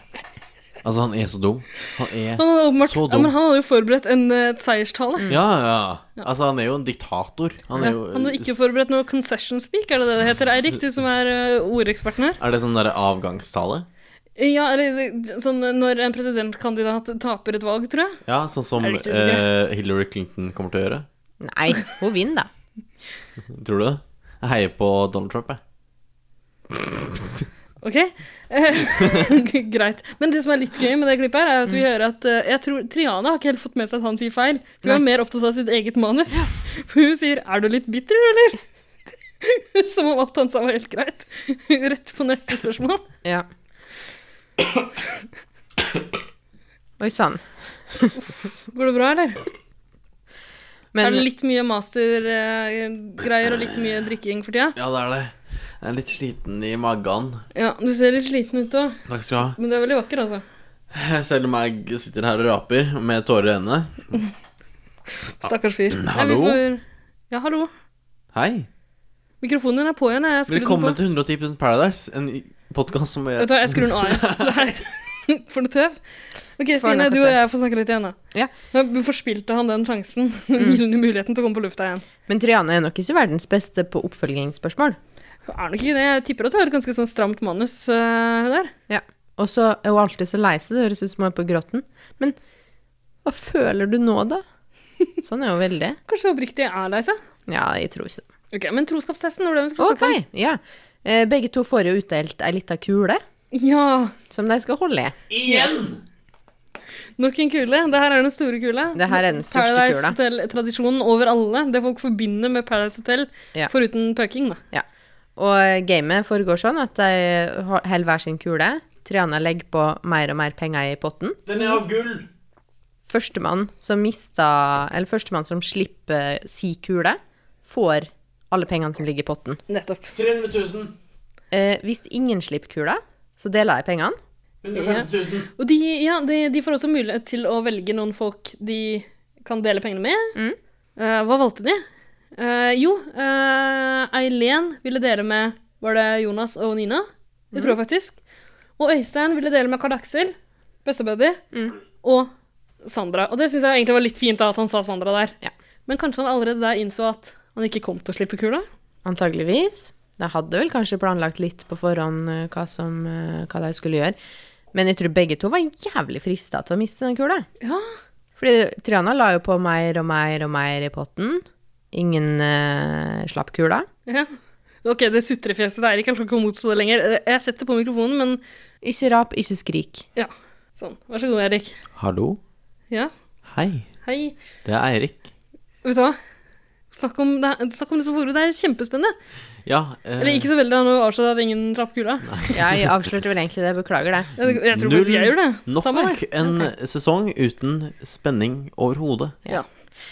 Altså, han er så dum. Han er
Han hadde åpenbart,
så
ja,
dum. Mm.
men han hadde jo forberedt en eh, seierstale.
Ja, ja. Altså, han er jo en diktator. Han
Ja,
er jo
hadde ikke forberedt noe concession speak, er det det det heter? Eirik, du som er eh, ordeksperten her.
Er det sånn derre avgangstale?
Ja, eller eh, sånn når en presidentkandidat taper et valg, tror jeg.
Ja, sånn som
Er det ikke så
eh, Hillary Clinton kommer til å gjøre?
Nei, hun vinner, da.
Tror du det? Jeg heier på Donald Trump, jeg.
Ok? Eh, Greit. Men det som er litt gøy med det klippet, her er at vi hører at eh, Jeg tror Triana har ikke helt fått med seg at han sier feil. Hun er mer opptatt av sitt eget manus. For hun sier 'Er du litt bitter, eller?' Som om alt han sa, var helt greit. Rett på neste spørsmål.
Ja. Oi sann.
Går det bra, eller?
Men-
er det litt mye mastergreier og litt mye drikking for tida?
Ja, det er det. Jeg er litt sliten i magen.
Ja, du ser litt sliten ut òg.
Takk skal du ha.
Men du er veldig vakker, altså.
Selv om jeg sitter her og raper med tårer i øynene.
Stakkars fyr.
Mm,
Nei, vi
Hallo?
får- Ja, hallo.
Hei.
Mikrofonen din er på igjen. Jeg har skrudd den på.
Velkommen til 110 Paradise, en podkast som
Vet du hva, jeg skrur den av. igjen. Det her- For noe tøv. Ok,
For
Stine,
noe
du og
tøv.
jeg får snakke litt igjen, da.
Ja.
Men Forspilte han den sjansen? Den gylne muligheten til å komme på lufta igjen?
Men Triana er nok ikke verdens beste på oppfølgingsspørsmål.
Hun Er nok ikke det. Jeg tipper at hun har et ganske sånn stramt manus, øh, hun der.
Ja. Og så er hun alltid så lei seg, det høres ut som hun er på gråten. Men hva føler du nå, da? Sånn er hun veldig.
Kanskje hun oppriktig er lei seg?
Ja, jeg tror ikke det.
Ok, men troskapstesten, det var det vi skulle
Ok,
snakke om.
ja. Eh, Begge to får jo utdelt ei lita kule.
Ja.
Som de skal holde i.
Igjen!
Nok en kule. Det her er den store kule.
Det her er den største
Paradise
kula.
Hotel-tradisjonen over alle. Det folk forbinder med Paradise Hotel,
Ja.
foruten pøking, da.
Ja. Og gamet foregår sånn at de ho- holder hver sin kule. Triana legger på mer og mer penger i potten.
Den er av gull!
Førstemann som mista Eller førstemann som slipper si kule, får alle pengene som ligger i potten.
Nettopp.
300 000.
Eh, hvis ingen slipper kula, så deler jeg pengene.
150 000.
Og de, ja, de, de får også mulighet til å velge noen folk de kan dele pengene med. Eh, hva valgte de? Eh, jo, eh, Eileen ville dele med Var det Jonas og Nina? Det tror jeg faktisk. Og Øystein ville dele med Karl Aksel, bestebuddy, og Sandra. Og det syns jeg egentlig var litt fint da, at han sa Sandra der. Men kanskje han allerede der innså at han ikke kom til å slippe kula?
Antageligvis. De hadde vel kanskje planlagt litt på forhånd eh, hva, som, eh, hva de skulle gjøre. Men jeg tror begge to var jævlig frista til å miste den kula.
Ja.
Fordi Triana la jo på mer og mer og mer i potten. Ingen eh, slapp kula.
Ja. Ok, det sutrefjeset der. Jeg kan ikke motstå det lenger. Eh, Jeg setter på mikrofonen, men
Ikke rap, ikke skrik.
Ja. Sånn. Vær så god, Erik.
Hallo.
Ja.
Hei.
Hei.
Det er Eirik.
Vet du hva? Snakk om det, snakk om det som foregår. Det er kjempespennende.
Ja. eh,
Eller ikke så veldig, han avslører at ingen trapp kula.
Jeg avslørte vel egentlig det. Beklager det.
Jeg, jeg tror faktisk jeg gjør det.
Nok
Samme her.
en sesong uten spenning overhodet.
Ja.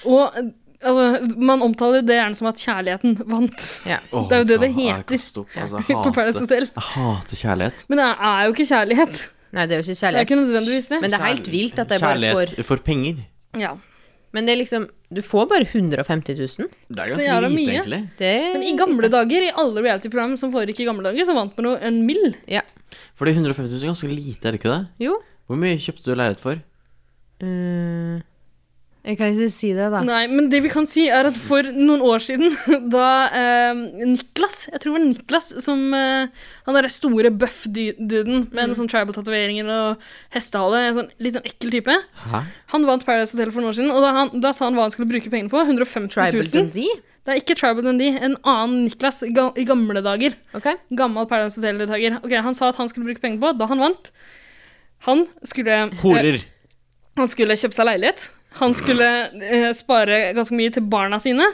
Og eh, altså, man omtaler jo det gjerne som at kjærligheten vant.
Åh,
det er jo det det
faen, jeg
heter
kaster opp, altså, jeg
på
hater-
Paradise Hotel.
Jeg hater kjærlighet.
Men det er jo ikke kjærlighet.
Nei, det er jo ikke
Det er
kjærlighet.
ikke nødvendigvis det.
Men det er helt vilt at jeg bare får
Kjærlighet for penger.
Ja.
Men det er liksom Du får bare 150 000.
Det er
Så jævla mye. Men i gamle dager, i alle reality-program som foregikk i gamle dager, så vant man jo en mill.
Fordi 150 000 er ganske lite, er det ikke det?
Jo.
Hvor mye kjøpte du leilighet for?
Eh, jeg kan ikke si det, da.
Nei, men det vi kan si, er at for noen år siden, da eh, Niklas, jeg tror det var Niklas, som eh, Han derre store buff-duden med en sånn tribal-tatoveringer og hestehale, en sånn litt sånn ekkel type,
Hæ?
han vant Paradise Hotel for noen år siden, og da, han, da sa han hva han skulle bruke pengene på. 150 000.
Tribal Dundee?
Det er ikke Tribal Dundee, en annen Niklas ga, i gamle dager. Gammel Paradise Hotel-deltaker. Ok, han sa at han skulle bruke penger på, da han vant Han skulle eh,
Horer.
han skulle kjøpe seg leilighet. Han skulle eh, spare ganske mye til barna sine.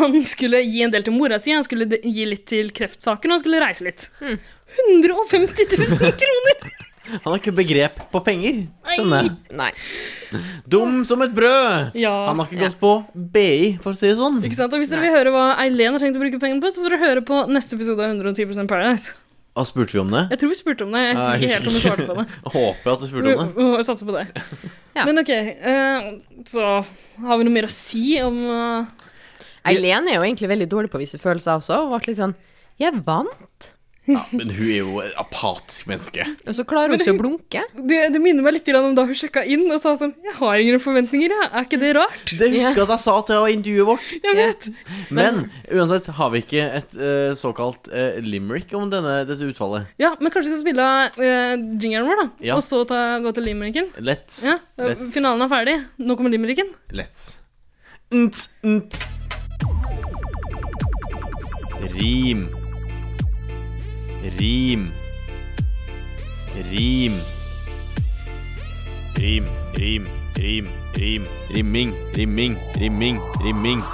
Han skulle gi en del til mora si, han skulle de- gi litt til kreftsaken, og han skulle reise litt. 150 000 kroner!
Han har ikke begrep på penger, skjønner jeg.
Nei.
Dum som et brød!
Ja.
Han har ikke gått på BI, for å si det sånn.
Ikke sant? Og hvis dere vil høre hva Eileen har tenkt å bruke pengene på, så får dere høre på neste episode av 110 Paradise.
Ah, spurte vi om det?
Jeg tror vi spurte om det. Jeg husker ikke helt om vi svarte på det.
Håper at du spurte om det.
Vi- vi satser på det. Men ok, eh, så har vi noe mer å si om eh,
Eileen er jo egentlig veldig dårlig på å vise følelser også. Og ble litt sånn Jeg vant.
Men hun er jo et apatisk menneske.
Og så klarer hun
Men
ikke å
hun-
blunke.
Det, det minner meg litt grann om da hun sjekka inn og sa sånn Jeg har ingen forventninger, jeg. Er ikke det rart?
Det husker jeg at jeg sa til intervjuet vårt.
Jeg vet.
Men uansett, har vi ikke et eh, såkalt eh, limerick om denne, dette utfallet?
Ja, men kanskje vi skal spille av eh, jingeren vår, da.
Ja.
Og så ta, gå til limericken.
Let's.
Ja, eh,
Let's.
Finalen er ferdig. Nå kommer limericken.
Let's. Nt, nt. Rim. Rim. Rim. Rim, rim, rim, rim. Rimming, rimming, rimming, rimming.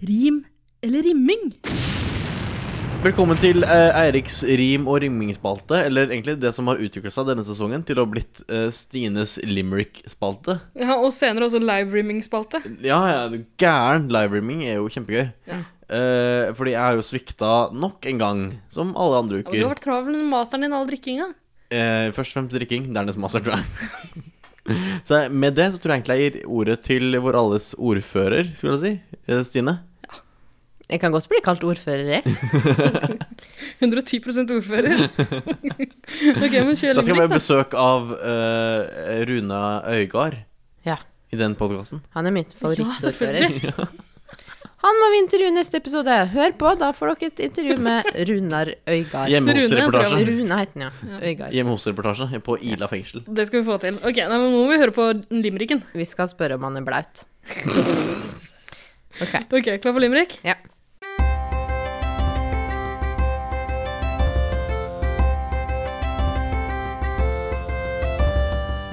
Rim eller rimming?
Velkommen til eh, Eiriks rim- og rimmingspalte, eller egentlig det som har utviklet seg denne sesongen til å ha blitt eh, Stines limerick-spalte.
Ja, og senere også live-rimming-spalte.
Ja, ja, du gæren. Live-rimming er jo kjempegøy.
Ja.
Eh, fordi jeg har jo svikta nok en gang, som alle andre
Ja, men du
uker.
har vært travel med masteren din og all drikkinga.
Eh, først og fremst drikking, dernest master, tror jeg. så jeg- med det så tror jeg egentlig jeg gir ordet til vår alles ordfører, skulle jeg si. Eh, Stine.
Jeg kan godt bli kalt ordfører, jeg.
110 ordfører. ok, men kjør
Da skal vi ha
limerick, da.
besøk av eh, Runa Øygard
Ja.
i den podkasten.
Han er mitt favorittordfører.
selvfølgelig.
Han må vi intervjue neste episode. Hør på, da får dere et intervju med Runar Øygard.
Hjemme hos Rune, reportasje. tror jeg.
Rune het han, ja. Øygard.
Hjemme hos-reportasje på Ila fengsel.
Det skal vi få til. Ok, nei, men Nå må vi høre på limericken.
Vi skal spørre om han er blaut. ok.
Ok, Klar for limerick?
Ja.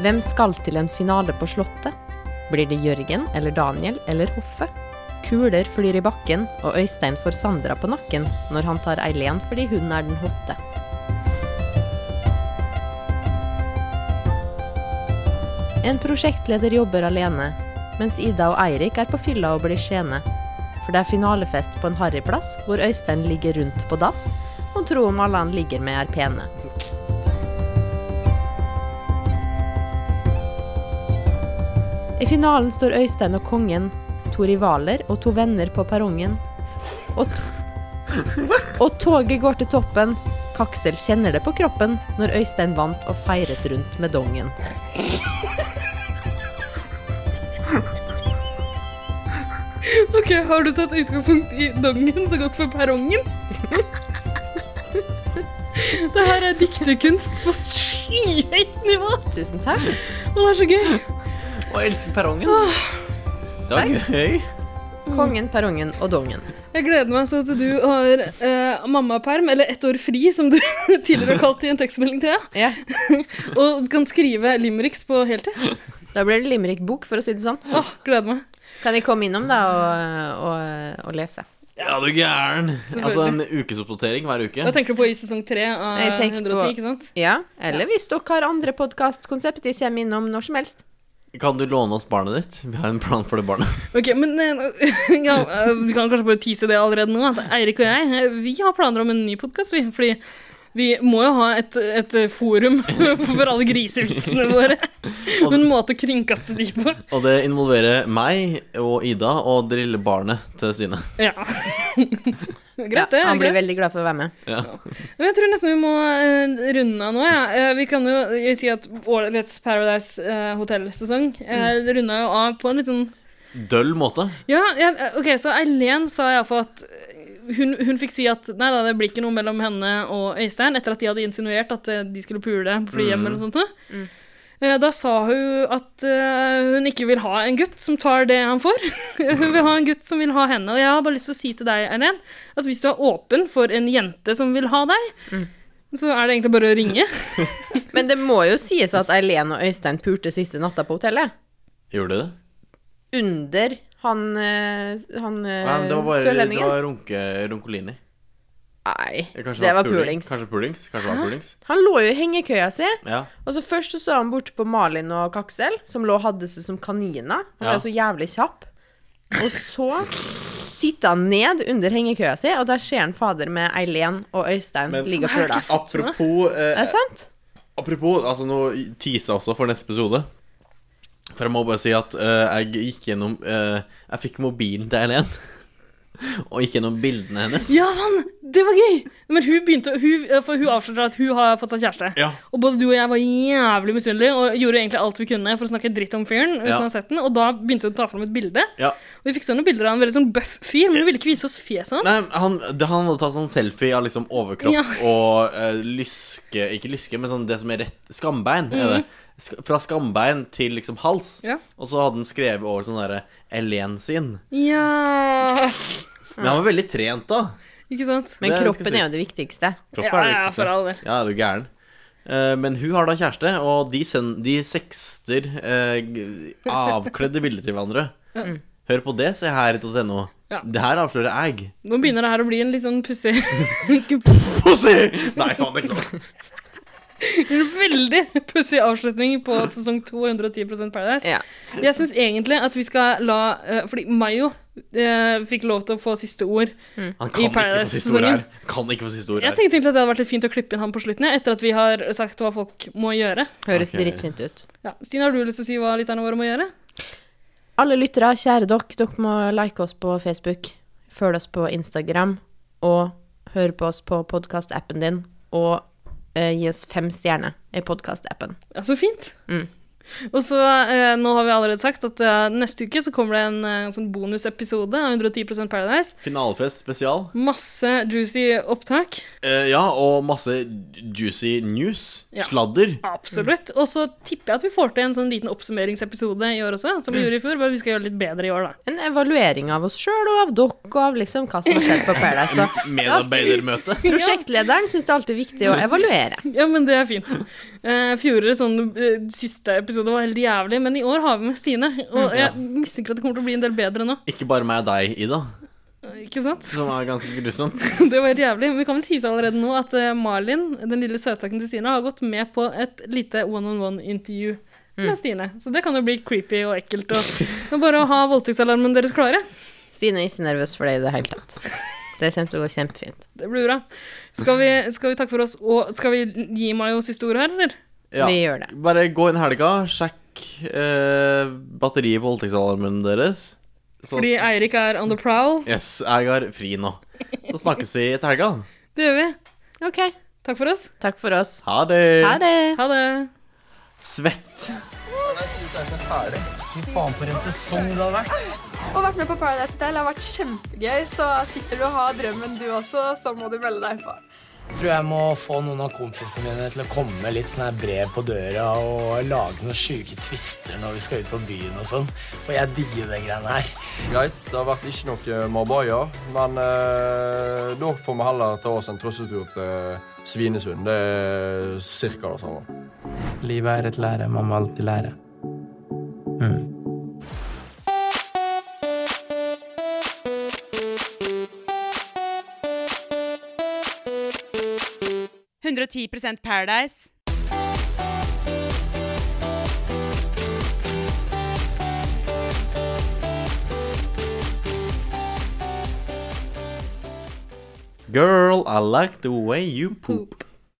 Hvem skal til en finale på Slottet? Blir det Jørgen eller Daniel eller Hoffe? Kuler flyr i bakken, og Øystein får Sandra på nakken når han tar Eileen fordi hun er den hotte. En prosjektleder jobber alene, mens Ida og Eirik er på fylla og blir skjene. For det er finalefest på en harryplass, hvor Øystein ligger rundt på dass og tror om alle han ligger med, er pene. I finalen står Øystein og kongen, to rivaler og to venner på perrongen. Og, to og toget går til toppen. Kaksel kjenner det på kroppen når Øystein vant og feiret rundt med dongen.
Ok, Har du tatt utgangspunkt i dongen som gått for perrongen? Det her er dikterkunst på skyhøyt nivå!
Tusen takk.
Og det er så gøy.
Og jeg elsker perrongen. Det var
Takk.
gøy.
Kongen, perrongen og dongen.
Jeg gleder meg så til du har eh, mammaperm, eller ett år fri, som du tidligere har kalt i en tekstmelding til deg. og du kan skrive limericks på heltid.
Da blir det limerick-bok, for å si det sånn.
Åh, gleder meg.
Kan jeg komme innom, da, og, og, og lese?
Ja, du gæren.
Selvfølgelig.
Altså en ukesoppdatering hver uke.
Hva tenker du på i sesong tre av
Jeg tenker
110,
på-
ikke sant?
Ja, eller hvis dere har andre podkastkonsept de kommer innom når som helst.
Kan du låne oss barnet ditt? Vi har en plan for det barnet.
Ok, men eh, ja, eh, Vi kan kanskje bare tease det allerede nå. At Eirik og jeg eh, Vi har planer om en ny podkast. Vi, fordi vi må jo ha et, et forum for alle grisevitsene våre. En måte å kringkaste de på.
Og det involverer meg og Ida og det lille barnet til Stine.
Ja. Greit, det. er
han blir
greit.
veldig glad for å være med.
Ja.
Men jeg tror nesten vi må eh, runde av nå. Ja. Eh, vi kan jo jeg si at årets Paradise uh, Hotel-sesong uh,
Mm.
runda jo av på en litt sånn
Døll måte.
Ja, ja ok, så Eileen sa iallfall at eh, hun, hun fikk si at nei da, det blir ikke noe mellom henne og Øystein, etter at de hadde insinuert at eh, de skulle pule på flyhjem
Mm.
eller noe sånt. noe. Eh, Da sa hun at eh, hun ikke vil ha en gutt som tar det han får. hun vil ha en gutt som vil ha henne. Og jeg har bare lyst til å si til deg, Eileen, at hvis du er åpen for en jente som vil ha deg, så er det egentlig bare å ringe.
Men det må jo sies at Eileen og Øystein pulte siste natta på hotellet.
Gjorde du det?
Under han, eh, han eh,
Nei, men det var bare det
sørlendingen.
var runke, runkolini.
Nei,
Kanskje
det var
puling.
pulings.
Kanskje pulings. Kanskje det
Hæ?
var pulings.
Han lå jo i hengekøya si.
Ja.
Og så først så, så han bort på Malin og Kaksel, som lå og hadde seg som kaniner.
Ja.
Han var jo så jævlig kjapp. Og så titta han ned under hengekøya si, og der ser han fader med Eileen og Øystein ligge og pule.
apropos
Er
eh,
det sant?
Apropos, altså nå teaser jeg også for neste episode. For jeg må bare si at eh, jeg gikk gjennom eh, Jeg fikk mobilen til Eileen. Og gikk gjennom bildene hennes.
Ja, vann! Det var gøy! Men hun begynte hun, eh, For hun avslørte at hun har fått seg kjæreste.
Ja.
Og både du og jeg var jævlig misunnelige og gjorde egentlig alt vi kunne for å snakke dritt om fyren. uten
Ja.
å ha sett den Og da begynte hun å ta fram et bilde.
Ja.
Og vi fikk se noen bilder av en veldig sånn bøff fyr, men hun ville ikke vise oss fjeset
Nei,
hans.
han, det, han hadde tatt sånn selfie av liksom overkropp
Ja.
og eh, lyske Ikke lyske, men sånn det som er rett Skambein, er det.
Mhm.
Sk fra skambein til liksom hals.
Ja.
Og så hadde han skrevet over sånn derre Elen sin.
Ja
Men han var veldig trent, da.
Ikke sant?
Men
Det skal
kroppen er
sies.
jo det viktigste.
Kroppen er det viktigste. Ja, er du gæren. Eh, Men hun har da kjæreste, og de, send, de sekster eh, g- avkledde bilder til hverandre.
Ja.
Hør på det, se her, .no.
Mm. Ja.
Det her avslører jeg.
Nå begynner det her å bli en litt sånn pussig
Pussy! Nei, faen, det er klart.
En veldig pussig avslutning på sesong 210 Paradise. Jeg syns egentlig at vi skal la eh, Fordi Mayo eh, fikk lov til å få siste ord
Han kan ikke få siste
i
ord
Paradise-sesongen.
her. Kan ikke få siste ord
Jeg
her.
tenkte egentlig at det hadde vært litt fint å klippe inn han på slutten, jeg, etter at vi har sagt hva folk må gjøre.
Høres Ok. drittfint ut.
Ja. Stine, har du lyst til å si hva lytterne våre må gjøre?
Alle lyttere, kjære dere, dere må like oss på Facebook, følge oss på Instagram, og høre på oss på podkastappen din, og eh, gi oss fem stjerner i podkastappen.
Ja, så fint.
Mm.
Og så, eh, nå har vi allerede sagt at eh, neste uke så kommer det en eh, sånn bonusepisode av 110 Paradise.
Finalefest spesial.
Masse juicy opptak.
Eh, ja, og masse juicy news.
Ja.
Sladder.
Absolutt.
Mm.
Og så tipper jeg at vi får til en sånn liten oppsummeringsepisode i år også, som vi
Mm.
gjorde i fjor, bare vi skal gjøre det litt bedre i år, da.
En evaluering av oss sjøl og av dere, og av liksom hva som har skjedd på Paradise. Så
Ah,
Medarbeidermøte.
prosjektlederen syns det er alltid viktig å evaluere.
Ja, men det er fint. Eh, fjorårets sånn, eh, siste episode var helt jævlig, men i år har vi med Stine. Og
Mm,
Ja.
jeg mistenker at det kommer til å bli en del bedre nå.
Ikke bare meg og deg, Ida,
Eh, Ikke sant?
som er ganske grusomt.
Det var helt jævlig. Men vi kan vel tise allerede nå at eh, Malin, den lille søtaken til Stine, har gått med på et lite one-on-one-intervju
Mm.
med Stine. Så det kan jo bli creepy og ekkelt. Og det er bare å ha voldtektsalarmen deres klare.
Stine er ikke nervøs for det i det hele tatt. Det kommer til å gå kjempefint.
Det blir bra. Skal vi, skal vi takke for oss, og skal vi gi Mayo siste ord her, eller?
Ja.
Vi gjør det.
Bare gå inn helga, sjekk eh, batteriet på voldtektsalarmen deres. Så,
Fordi Eirik er on the prowl.
yes, jeg har fri nå. Så snakkes vi etter helga.
Det gjør vi. Ok. Takk for oss.
Takk for oss.
Ha det.
Ha det.
Svett.
Fy faen, for en sesong det har vært.
Og vært med på Paradise Hotel har vært kjempegøy, så sitter du og har drømmen du også, så må du melde deg på.
Tror jeg må få noen av kompisene mine til å komme med litt sånn her brev på døra og lage noen sjuke twister når vi skal ut på byen og sånn. For jeg digger de greiene her.
Greit, det har vært ikke noe marbaier, men eh, da får vi heller ta oss en trøstetur til Svinesund. Det er cirka det samme.
Livet er et lære, man må alltid lære.
Paradise. 110 Paradise.
Girl, I like the way you poop.